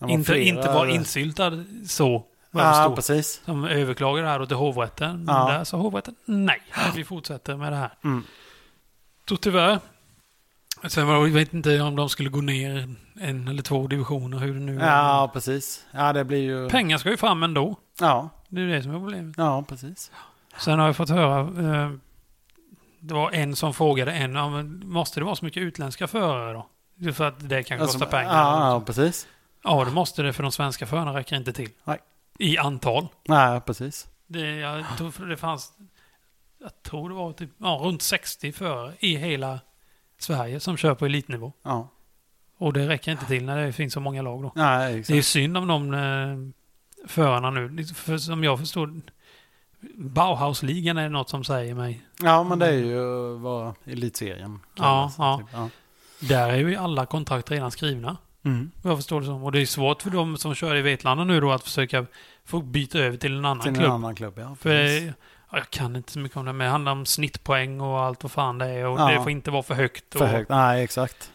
[SPEAKER 1] det
[SPEAKER 2] inte,
[SPEAKER 1] flera-
[SPEAKER 2] inte var insyltad så. vad jag
[SPEAKER 1] Ja,
[SPEAKER 2] förstod.
[SPEAKER 1] precis.
[SPEAKER 2] Som överklagade det här och till hovrätten.
[SPEAKER 1] Ja.
[SPEAKER 2] Där sa hovrätten nej, vi fortsätter med det här.
[SPEAKER 1] Mm.
[SPEAKER 2] Så tyvärr. Sen var, jag vet inte om de skulle gå ner en eller två divisioner, hur det nu
[SPEAKER 1] Ja, precis. Ja, det blir ju...
[SPEAKER 2] Pengar ska ju fram ändå.
[SPEAKER 1] Ja,
[SPEAKER 2] Det är det som är problemet.
[SPEAKER 1] ja precis.
[SPEAKER 2] Sen har jag fått höra, eh, det var en som frågade en, ja, men måste det vara så mycket utländska förare då? Det är För att det kanske
[SPEAKER 1] Alltså,
[SPEAKER 2] kostar pengar.
[SPEAKER 1] Ja, ja, precis.
[SPEAKER 2] ja, det måste det för de svenska förarna räcker inte till.
[SPEAKER 1] Nej.
[SPEAKER 2] I antal.
[SPEAKER 1] Nej, precis.
[SPEAKER 2] Det, jag tror för det fanns, jag tror det var typ, ja, runt 60 förare i hela Sverige som kör på elitnivå.
[SPEAKER 1] Ja,
[SPEAKER 2] Och det räcker inte till när det finns så många lag då.
[SPEAKER 1] nej,
[SPEAKER 2] Det är
[SPEAKER 1] exakt.
[SPEAKER 2] synd om de eh, förarna nu. Det- För som jag förstår, Bauhausligan är något som säger mig.
[SPEAKER 1] Ja, men det är ju vad elitserien kallas,
[SPEAKER 2] Ja,
[SPEAKER 1] typ. ja.
[SPEAKER 2] Där är ju alla kontrakt redan skrivna.
[SPEAKER 1] Mm.
[SPEAKER 2] vad Jag förstår det som. Och det är svårt för de som kör i Vetlanda nu då att försöka få byta över till en annan
[SPEAKER 1] Till en
[SPEAKER 2] klubb.
[SPEAKER 1] annan klubb, ja.
[SPEAKER 2] För
[SPEAKER 1] precis.
[SPEAKER 2] ja, jag kan inte så mycket om det, men det handlar om snittpoäng och allt vad fan det är. Och
[SPEAKER 1] Ja.
[SPEAKER 2] det får inte vara för högt.
[SPEAKER 1] För
[SPEAKER 2] och,
[SPEAKER 1] högt. Nej, exakt.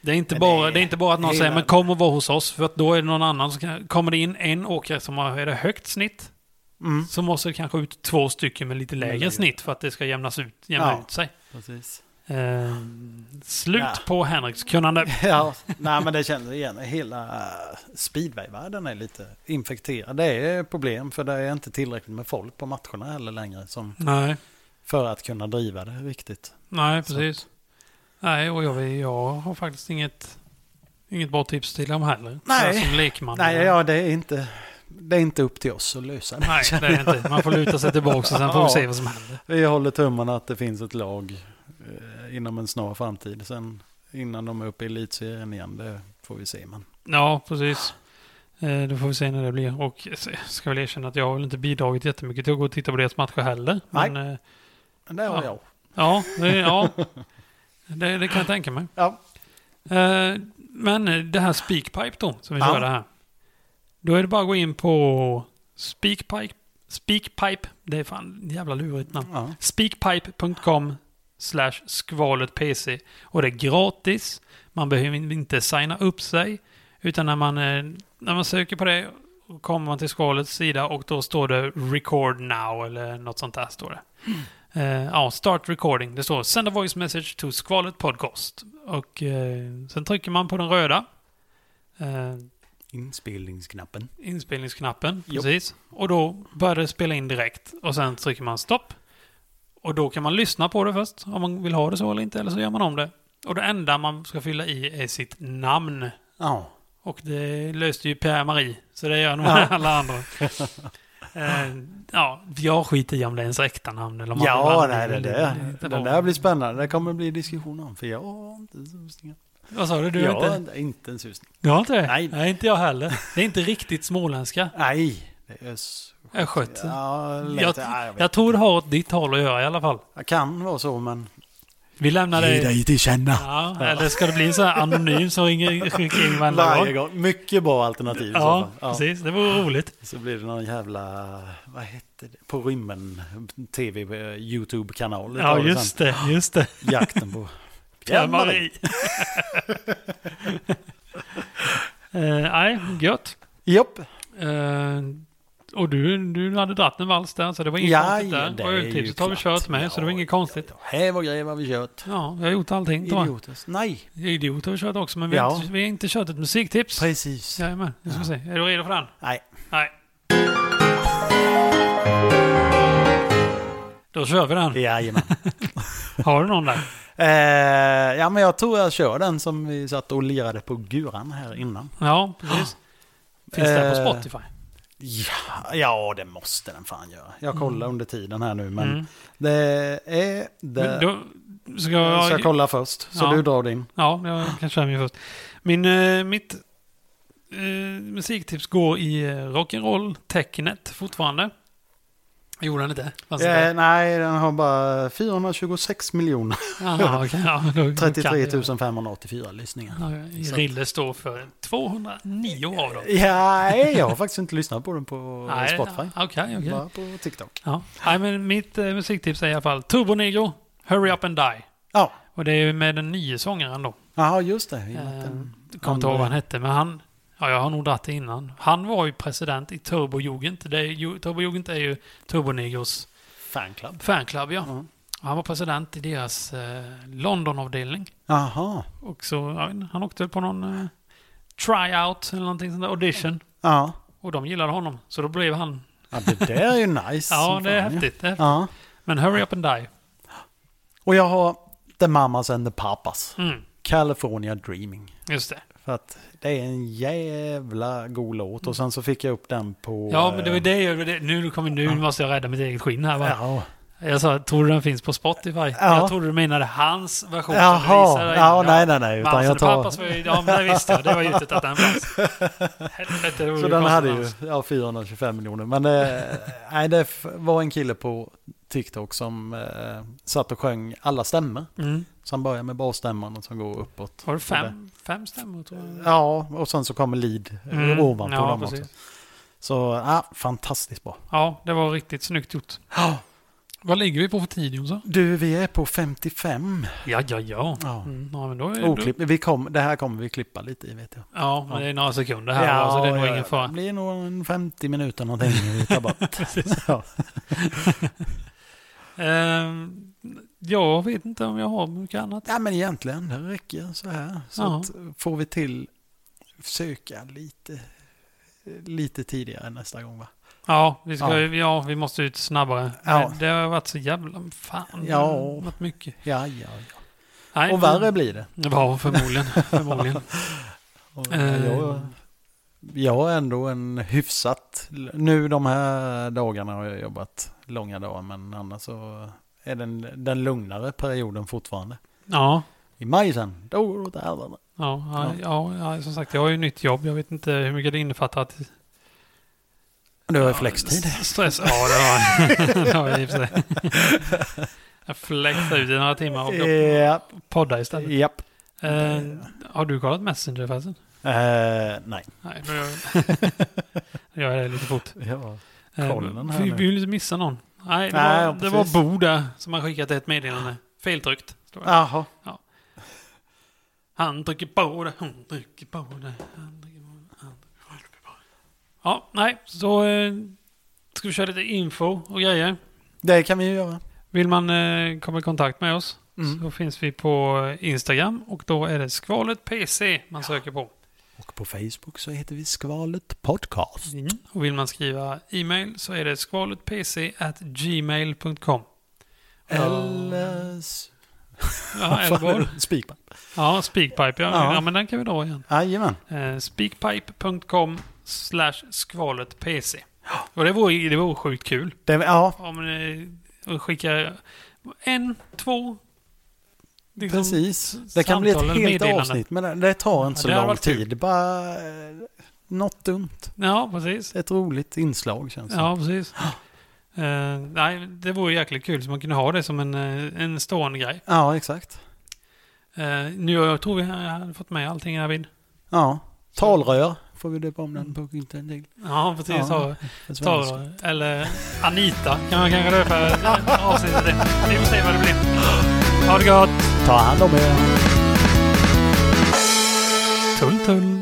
[SPEAKER 2] Det är, inte
[SPEAKER 1] Men
[SPEAKER 2] bara,
[SPEAKER 1] det-
[SPEAKER 2] det, är inte bara att någon
[SPEAKER 1] hela-
[SPEAKER 2] säger men kom och var hos oss för att då är det någon annan som kan, kommer det in en åkare som har är det högt snitt
[SPEAKER 1] Mm.
[SPEAKER 2] så måste det kanske ut två stycken med lite lägre
[SPEAKER 1] lägre.
[SPEAKER 2] snitt för att det ska jämnas ut, jämna
[SPEAKER 1] Ja.
[SPEAKER 2] ut sig.
[SPEAKER 1] (laughs) Precis.
[SPEAKER 2] Eh, slut
[SPEAKER 1] Ja.
[SPEAKER 2] på Henriks kunnande.
[SPEAKER 1] (laughs) Ja, nej men det känner vi igen. Hela eh, speedwayvärlden är lite infekterad. Det är problem för det är inte tillräckligt med folk på matcherna heller längre som,
[SPEAKER 2] Nej,
[SPEAKER 1] för att kunna driva det riktigt.
[SPEAKER 2] nej
[SPEAKER 1] Så
[SPEAKER 2] precis. Nej, och jag, vet- jag har faktiskt inget, inget bra tips till dem heller.
[SPEAKER 1] Nej.
[SPEAKER 2] Så här Som lekman.
[SPEAKER 1] Nej, ja det är inte, det är inte upp till oss att lösa det.
[SPEAKER 2] Nej, det är det inte. Man får luta sig tillbaka och sen får vi se vad som händer.
[SPEAKER 1] Vi håller tummarna att det finns ett lag eh, inom en snar framtid. Sen innan de är uppe i elitserien igen, det får vi se. Men,
[SPEAKER 2] Ja, precis. Eh, Då får vi se när det blir. Och jag ska väl erkänna att jag har väl inte bidragit jättemycket till att gå och titta på deras matcher heller.
[SPEAKER 1] Nej.
[SPEAKER 2] Men, eh,
[SPEAKER 1] men det har
[SPEAKER 2] Ja.
[SPEAKER 1] jag.
[SPEAKER 2] ja, det, ja. Det, det kan jag tänka mig.
[SPEAKER 1] Ja.
[SPEAKER 2] Eh, Men eh, det här Speakpipe då, som vi
[SPEAKER 1] Ja.
[SPEAKER 2] körde här. Då är det bara att gå in på Speakpipe. Speakpipe. Det är fan ett jävla lurigt namn.
[SPEAKER 1] Ja.
[SPEAKER 2] Speakpipe.com slash skvalet PC. Och det är gratis. Man behöver inte signa upp sig. Utan när man, eh, när man söker på det kommer man till skvalets sida och då står det record now eller något sånt där står det. Eh, ja, start recording. Det står send a voice message to skvalet podcast. Och eh, sen trycker man på den röda. Eh,
[SPEAKER 1] Inspelningsknappen.
[SPEAKER 2] inspelningsknappen.
[SPEAKER 1] Jo.
[SPEAKER 2] Precis. Och då börjar det spela in direkt. Och sen trycker man stopp. Och då kan man lyssna på det först. Om man vill ha det så eller inte. Eller så gör man om det. Och det enda man ska fylla i är sitt namn.
[SPEAKER 1] Ja,
[SPEAKER 2] Och det löste ju Per-Marie. Så det gör nog
[SPEAKER 1] Ja.
[SPEAKER 2] (laughs) alla andra. Eh, ja, jag skiter i om det är ens äkta namn. Eller om man
[SPEAKER 1] ja
[SPEAKER 2] vill
[SPEAKER 1] nej, det,
[SPEAKER 2] använda
[SPEAKER 1] det, det,
[SPEAKER 2] Det
[SPEAKER 1] där blir spännande. Det kommer bli diskussion om. För jag har inte en susning.
[SPEAKER 2] Vad sa du? Du
[SPEAKER 1] jag
[SPEAKER 2] vet
[SPEAKER 1] har
[SPEAKER 2] inte?
[SPEAKER 1] inte, inte en susning.
[SPEAKER 2] Du har inte det?
[SPEAKER 1] Nej.
[SPEAKER 2] Nej, inte jag heller. Det är inte riktigt småländska.
[SPEAKER 1] Nej, det är... s-
[SPEAKER 2] Östgöte.
[SPEAKER 1] Ja, lite,
[SPEAKER 2] Jag,
[SPEAKER 1] ja, jag, vet.
[SPEAKER 2] jag tror det har åt ditt håll att göra i alla fall.
[SPEAKER 1] jag kan vara så, men...
[SPEAKER 2] Vi lämnar dig.
[SPEAKER 1] till känna.
[SPEAKER 2] Ja, eller ska det bli så här anonym som ringer skickar in varenda
[SPEAKER 1] Varje
[SPEAKER 2] gång?
[SPEAKER 1] gång. Mycket bra alternativ. i så
[SPEAKER 2] Ja,
[SPEAKER 1] fall.
[SPEAKER 2] precis. Det vore roligt.
[SPEAKER 1] Så blir det någon jävla, vad hette det, på rymmen, tv, eh, YouTube-kanal.
[SPEAKER 2] Ja, just det. Just det.
[SPEAKER 1] Sen. Jakten på...
[SPEAKER 2] (laughs) Ja, Marie. (laughs) Eh, Nej, gött.
[SPEAKER 1] Japp.
[SPEAKER 2] Eh, och du, du hade dratt en vals där, så det var inget
[SPEAKER 1] Ja,
[SPEAKER 2] konstigt där.
[SPEAKER 1] det
[SPEAKER 2] och
[SPEAKER 1] är ju
[SPEAKER 2] öltipset har vi
[SPEAKER 1] klart.
[SPEAKER 2] kört med, så det var
[SPEAKER 1] Ja,
[SPEAKER 2] inget konstigt.
[SPEAKER 1] Häv och grej vad vi kört.
[SPEAKER 2] Ja, vi har gjort allting. tror jag.
[SPEAKER 1] Idiotiskt. Nej,
[SPEAKER 2] Idiot har vi kört också, men vi, har,
[SPEAKER 1] Ja.
[SPEAKER 2] inte, vi har inte kört ett musiktips.
[SPEAKER 1] precis.
[SPEAKER 2] Jajamän, nu ska vi se. Är du redo för den?
[SPEAKER 1] Nej.
[SPEAKER 2] Nej. Då kör vi den.
[SPEAKER 1] Jajamän.
[SPEAKER 2] Har du någon där?
[SPEAKER 1] eh, ja, men jag tror jag kör den som vi satt och lirade på guran här innan.
[SPEAKER 2] Ja, precis. Finns det på
[SPEAKER 1] Eh,
[SPEAKER 2] Spotify?
[SPEAKER 1] Ja, ja, det måste den fan göra. Jag kollar under tiden här nu, men
[SPEAKER 2] Mm.
[SPEAKER 1] det är...
[SPEAKER 2] Men
[SPEAKER 1] Det...
[SPEAKER 2] Då ska
[SPEAKER 1] Jag ska
[SPEAKER 2] jag...
[SPEAKER 1] kolla först, så
[SPEAKER 2] Ja.
[SPEAKER 1] du drar din.
[SPEAKER 2] Ja, jag kan köra min först. Min, eh, mitt eh, musiktips går i eh, rock'n'roll-tecknet fortfarande. Gjorde han inte? Fanns
[SPEAKER 1] Eh,
[SPEAKER 2] inte?
[SPEAKER 1] nej, den har bara 426 miljoner
[SPEAKER 2] Jaha, (laughs) okej, ja, då kan
[SPEAKER 1] 33 584
[SPEAKER 2] (laughs)
[SPEAKER 1] lyssningar.
[SPEAKER 2] jag- Ja, Rille står för 209 av dem.
[SPEAKER 1] Ja, jag har faktiskt inte lyssnat på den på
[SPEAKER 2] Nej,
[SPEAKER 1] Spotify.
[SPEAKER 2] Okej, okej.
[SPEAKER 1] Bara på TikTok.
[SPEAKER 2] Ja. Nej, men mitt eh, musiktips är i alla fall Turbo Negro, Hurry Up and Die.
[SPEAKER 1] Ja,
[SPEAKER 2] Och det är ju med den nye sångaren då.
[SPEAKER 1] jaha, just det. I och med att
[SPEAKER 2] Eh,
[SPEAKER 1] den-
[SPEAKER 2] Kommer inte ihåg vad han hette, men han... Ja, jag har nog dragit det innan. Han var ju president i Turbo Jugend. Det är, ju- Turbo Jugend är ju Turbo Negros
[SPEAKER 1] Fanclub.
[SPEAKER 2] fanclub, ja.
[SPEAKER 1] Mm.
[SPEAKER 2] Och Han var president i deras eh, Londonavdelning.
[SPEAKER 1] Jaha,
[SPEAKER 2] Och så, jag vet inte, han åkte på någon eh, tryout eller någonting sånt där, audition.
[SPEAKER 1] ja.
[SPEAKER 2] Och de gillade honom, så då blev han...
[SPEAKER 1] Ja, det där är
[SPEAKER 2] (laughs)
[SPEAKER 1] ju nice.
[SPEAKER 2] Ja,
[SPEAKER 1] som
[SPEAKER 2] det är
[SPEAKER 1] fan, ja.
[SPEAKER 2] häftigt. Det är häftigt.
[SPEAKER 1] Ja.
[SPEAKER 2] Men Hurry Up and Die.
[SPEAKER 1] Och jag har The Mamas and the Papas.
[SPEAKER 2] Mm,
[SPEAKER 1] California Dreaming.
[SPEAKER 2] just det.
[SPEAKER 1] För att det är en jävla god låt. Och sen så fick jag upp den på... eh,
[SPEAKER 2] Ja, men det var det jag... det- Nu, kommer, nu måste jag rädda mitt eget skinn här, va?
[SPEAKER 1] Ja.
[SPEAKER 2] Jag sa, tror du den finns på Spotify? Jag trodde du menade hans version. som du
[SPEAKER 1] Jaha,
[SPEAKER 2] visade.
[SPEAKER 1] ja, nej, nej, nej. Utan
[SPEAKER 2] Mammas
[SPEAKER 1] jag
[SPEAKER 2] och
[SPEAKER 1] tar...
[SPEAKER 2] Pappas var ju, ja, men det visste jag. Det var ju inte att
[SPEAKER 1] (laughs)
[SPEAKER 2] den fanns. Helvete, det var
[SPEAKER 1] Så den hade ju
[SPEAKER 2] konstigt
[SPEAKER 1] ja, 425 miljoner. Men
[SPEAKER 2] (laughs)
[SPEAKER 1] eh, nej, det f- var en kille på TikTok som eh, satt och sjöng alla stämmor.
[SPEAKER 2] namn. Mm.
[SPEAKER 1] Så han börjar med basstämman och sen går uppåt.
[SPEAKER 2] Var det fem, fem stämmor, tror jag?
[SPEAKER 1] Ja, och sen så kommer lead eh,
[SPEAKER 2] Mm,
[SPEAKER 1] ovanpå
[SPEAKER 2] ja,
[SPEAKER 1] dem
[SPEAKER 2] precis.
[SPEAKER 1] också. Så ja, fantastiskt bra.
[SPEAKER 2] Ja, det var riktigt snyggt gjort.
[SPEAKER 1] Ja.
[SPEAKER 2] Vad ligger vi på för tid, Jonsson?
[SPEAKER 1] Du, vi är på 55.
[SPEAKER 2] Ja, ja, ja.
[SPEAKER 1] Ja.
[SPEAKER 2] Mm, ja, men då är då-
[SPEAKER 1] Oklipp. Vi kom, det här kommer vi klippa lite i vet jag.
[SPEAKER 2] Ja, men det är några sekunder här, ja, så det är nog ingen
[SPEAKER 1] Det
[SPEAKER 2] fara.
[SPEAKER 1] blir nog en 50 minuter någonting vi tar
[SPEAKER 2] (laughs)
[SPEAKER 1] bort. ja.
[SPEAKER 2] Ehm, jag vet inte om jag har mycket annat.
[SPEAKER 1] ja, men egentligen det räcker så här. Så
[SPEAKER 2] Ja.
[SPEAKER 1] att får vi till försöka lite, lite tidigare nästa gång va?
[SPEAKER 2] Ja, vi, ska,
[SPEAKER 1] Ja.
[SPEAKER 2] ja. vi måste ut snabbare.
[SPEAKER 1] Ja.
[SPEAKER 2] Men Det har varit så jävla... Fan, det
[SPEAKER 1] Ja.
[SPEAKER 2] har varit mycket.
[SPEAKER 1] Ja, ja, ja.
[SPEAKER 2] Nej,
[SPEAKER 1] Och värre blir det. (laughs)
[SPEAKER 2] Ja, förmodligen. förmodligen.
[SPEAKER 1] Och
[SPEAKER 2] Eh.
[SPEAKER 1] Jag, jag är ändå en hyfsat... Nu de här dagarna har jag jobbat långa dagar men annars så är den, den lugnare perioden fortfarande.
[SPEAKER 2] Ja,
[SPEAKER 1] I maj sen, då går det åt helvete.
[SPEAKER 2] ja, ja, ja, ja, som sagt, jag har ju nytt jobb. Jag vet inte hur mycket det innefattar att...
[SPEAKER 1] Du har ju flextid.
[SPEAKER 2] Stress. Ja, det har jag. (laughs) det har jag i och för sig.
[SPEAKER 1] (laughs)
[SPEAKER 2] Jag flexar ut i några timmar och
[SPEAKER 1] Japp,
[SPEAKER 2] poddar istället.
[SPEAKER 1] japp.
[SPEAKER 2] Eh, har du kollat Messenger förresten?
[SPEAKER 1] Eh, nej.
[SPEAKER 2] Nej, men jag
[SPEAKER 1] (laughs)
[SPEAKER 2] jag gör det lite fort.
[SPEAKER 1] Ja.
[SPEAKER 2] Eh,
[SPEAKER 1] Kolla den här
[SPEAKER 2] vi
[SPEAKER 1] nu.
[SPEAKER 2] vill ju inte missa någon. Nej, det,
[SPEAKER 1] Nej,
[SPEAKER 2] var,
[SPEAKER 1] ja,
[SPEAKER 2] det var
[SPEAKER 1] precis.
[SPEAKER 2] Bo där som har skickat ett meddelande. Feltryckt. står det.
[SPEAKER 1] Jaha.
[SPEAKER 2] Han trycker på det, hon trycker på det. Han trycker på det, han trycker på det. Ja, nej, så eh, ska vi köra lite info och grejer.
[SPEAKER 1] Det kan vi ju göra.
[SPEAKER 2] Vill man eh, komma i kontakt med oss
[SPEAKER 1] Mm.
[SPEAKER 2] så finns vi på Instagram och då är det skvalet PC man söker på.
[SPEAKER 1] Och på Facebook så heter vi Skvalet Podcast.
[SPEAKER 2] Och vill man skriva e-mail så är det skvaletpc@gmail.com.
[SPEAKER 1] Eller... s-
[SPEAKER 2] Ja,
[SPEAKER 1] (laughs) vad fan är
[SPEAKER 2] Elvor.
[SPEAKER 1] det? Speakpipe.
[SPEAKER 2] Ja, Speakpipe. Ja.
[SPEAKER 1] Ja.
[SPEAKER 2] Ja. men den kan vi dra igen.
[SPEAKER 1] Jajamän.
[SPEAKER 2] Eh, speakpipe.com slash skvaletpc. Och det vore, det vore sjukt kul.
[SPEAKER 1] Det- Ja,
[SPEAKER 2] Om ni eh, skickar en, två... liksom,
[SPEAKER 1] Precis.
[SPEAKER 2] s-
[SPEAKER 1] Det kan bli ett
[SPEAKER 2] samtal eller
[SPEAKER 1] helt
[SPEAKER 2] meddelanden.
[SPEAKER 1] avsnitt, men det- det tar inte
[SPEAKER 2] Ja,
[SPEAKER 1] så
[SPEAKER 2] det hade
[SPEAKER 1] lång
[SPEAKER 2] varit kul.
[SPEAKER 1] tid. Det bara eh, något dumt.
[SPEAKER 2] Ja, precis.
[SPEAKER 1] Ett roligt inslag känns det.
[SPEAKER 2] Ja, precis. Eh, nej, det vore jäkligt kul så man kunde ha det som en, eh, en stående grej.
[SPEAKER 1] ja, exakt.
[SPEAKER 2] Eh, nu jag tror vi hade fått med allting här vid.
[SPEAKER 1] Ja. Talrör får vi döpa om den
[SPEAKER 2] Mm.
[SPEAKER 1] punkten till.
[SPEAKER 2] Ja, precis.
[SPEAKER 1] Ja.
[SPEAKER 2] Ja.
[SPEAKER 1] På svenska.
[SPEAKER 2] Tara, eller Anita kan man kanske döpa eh, avsnittet till. Vi får se vad det blir. Ha det gott!
[SPEAKER 1] Ta hand om er.
[SPEAKER 2] Tull, tull.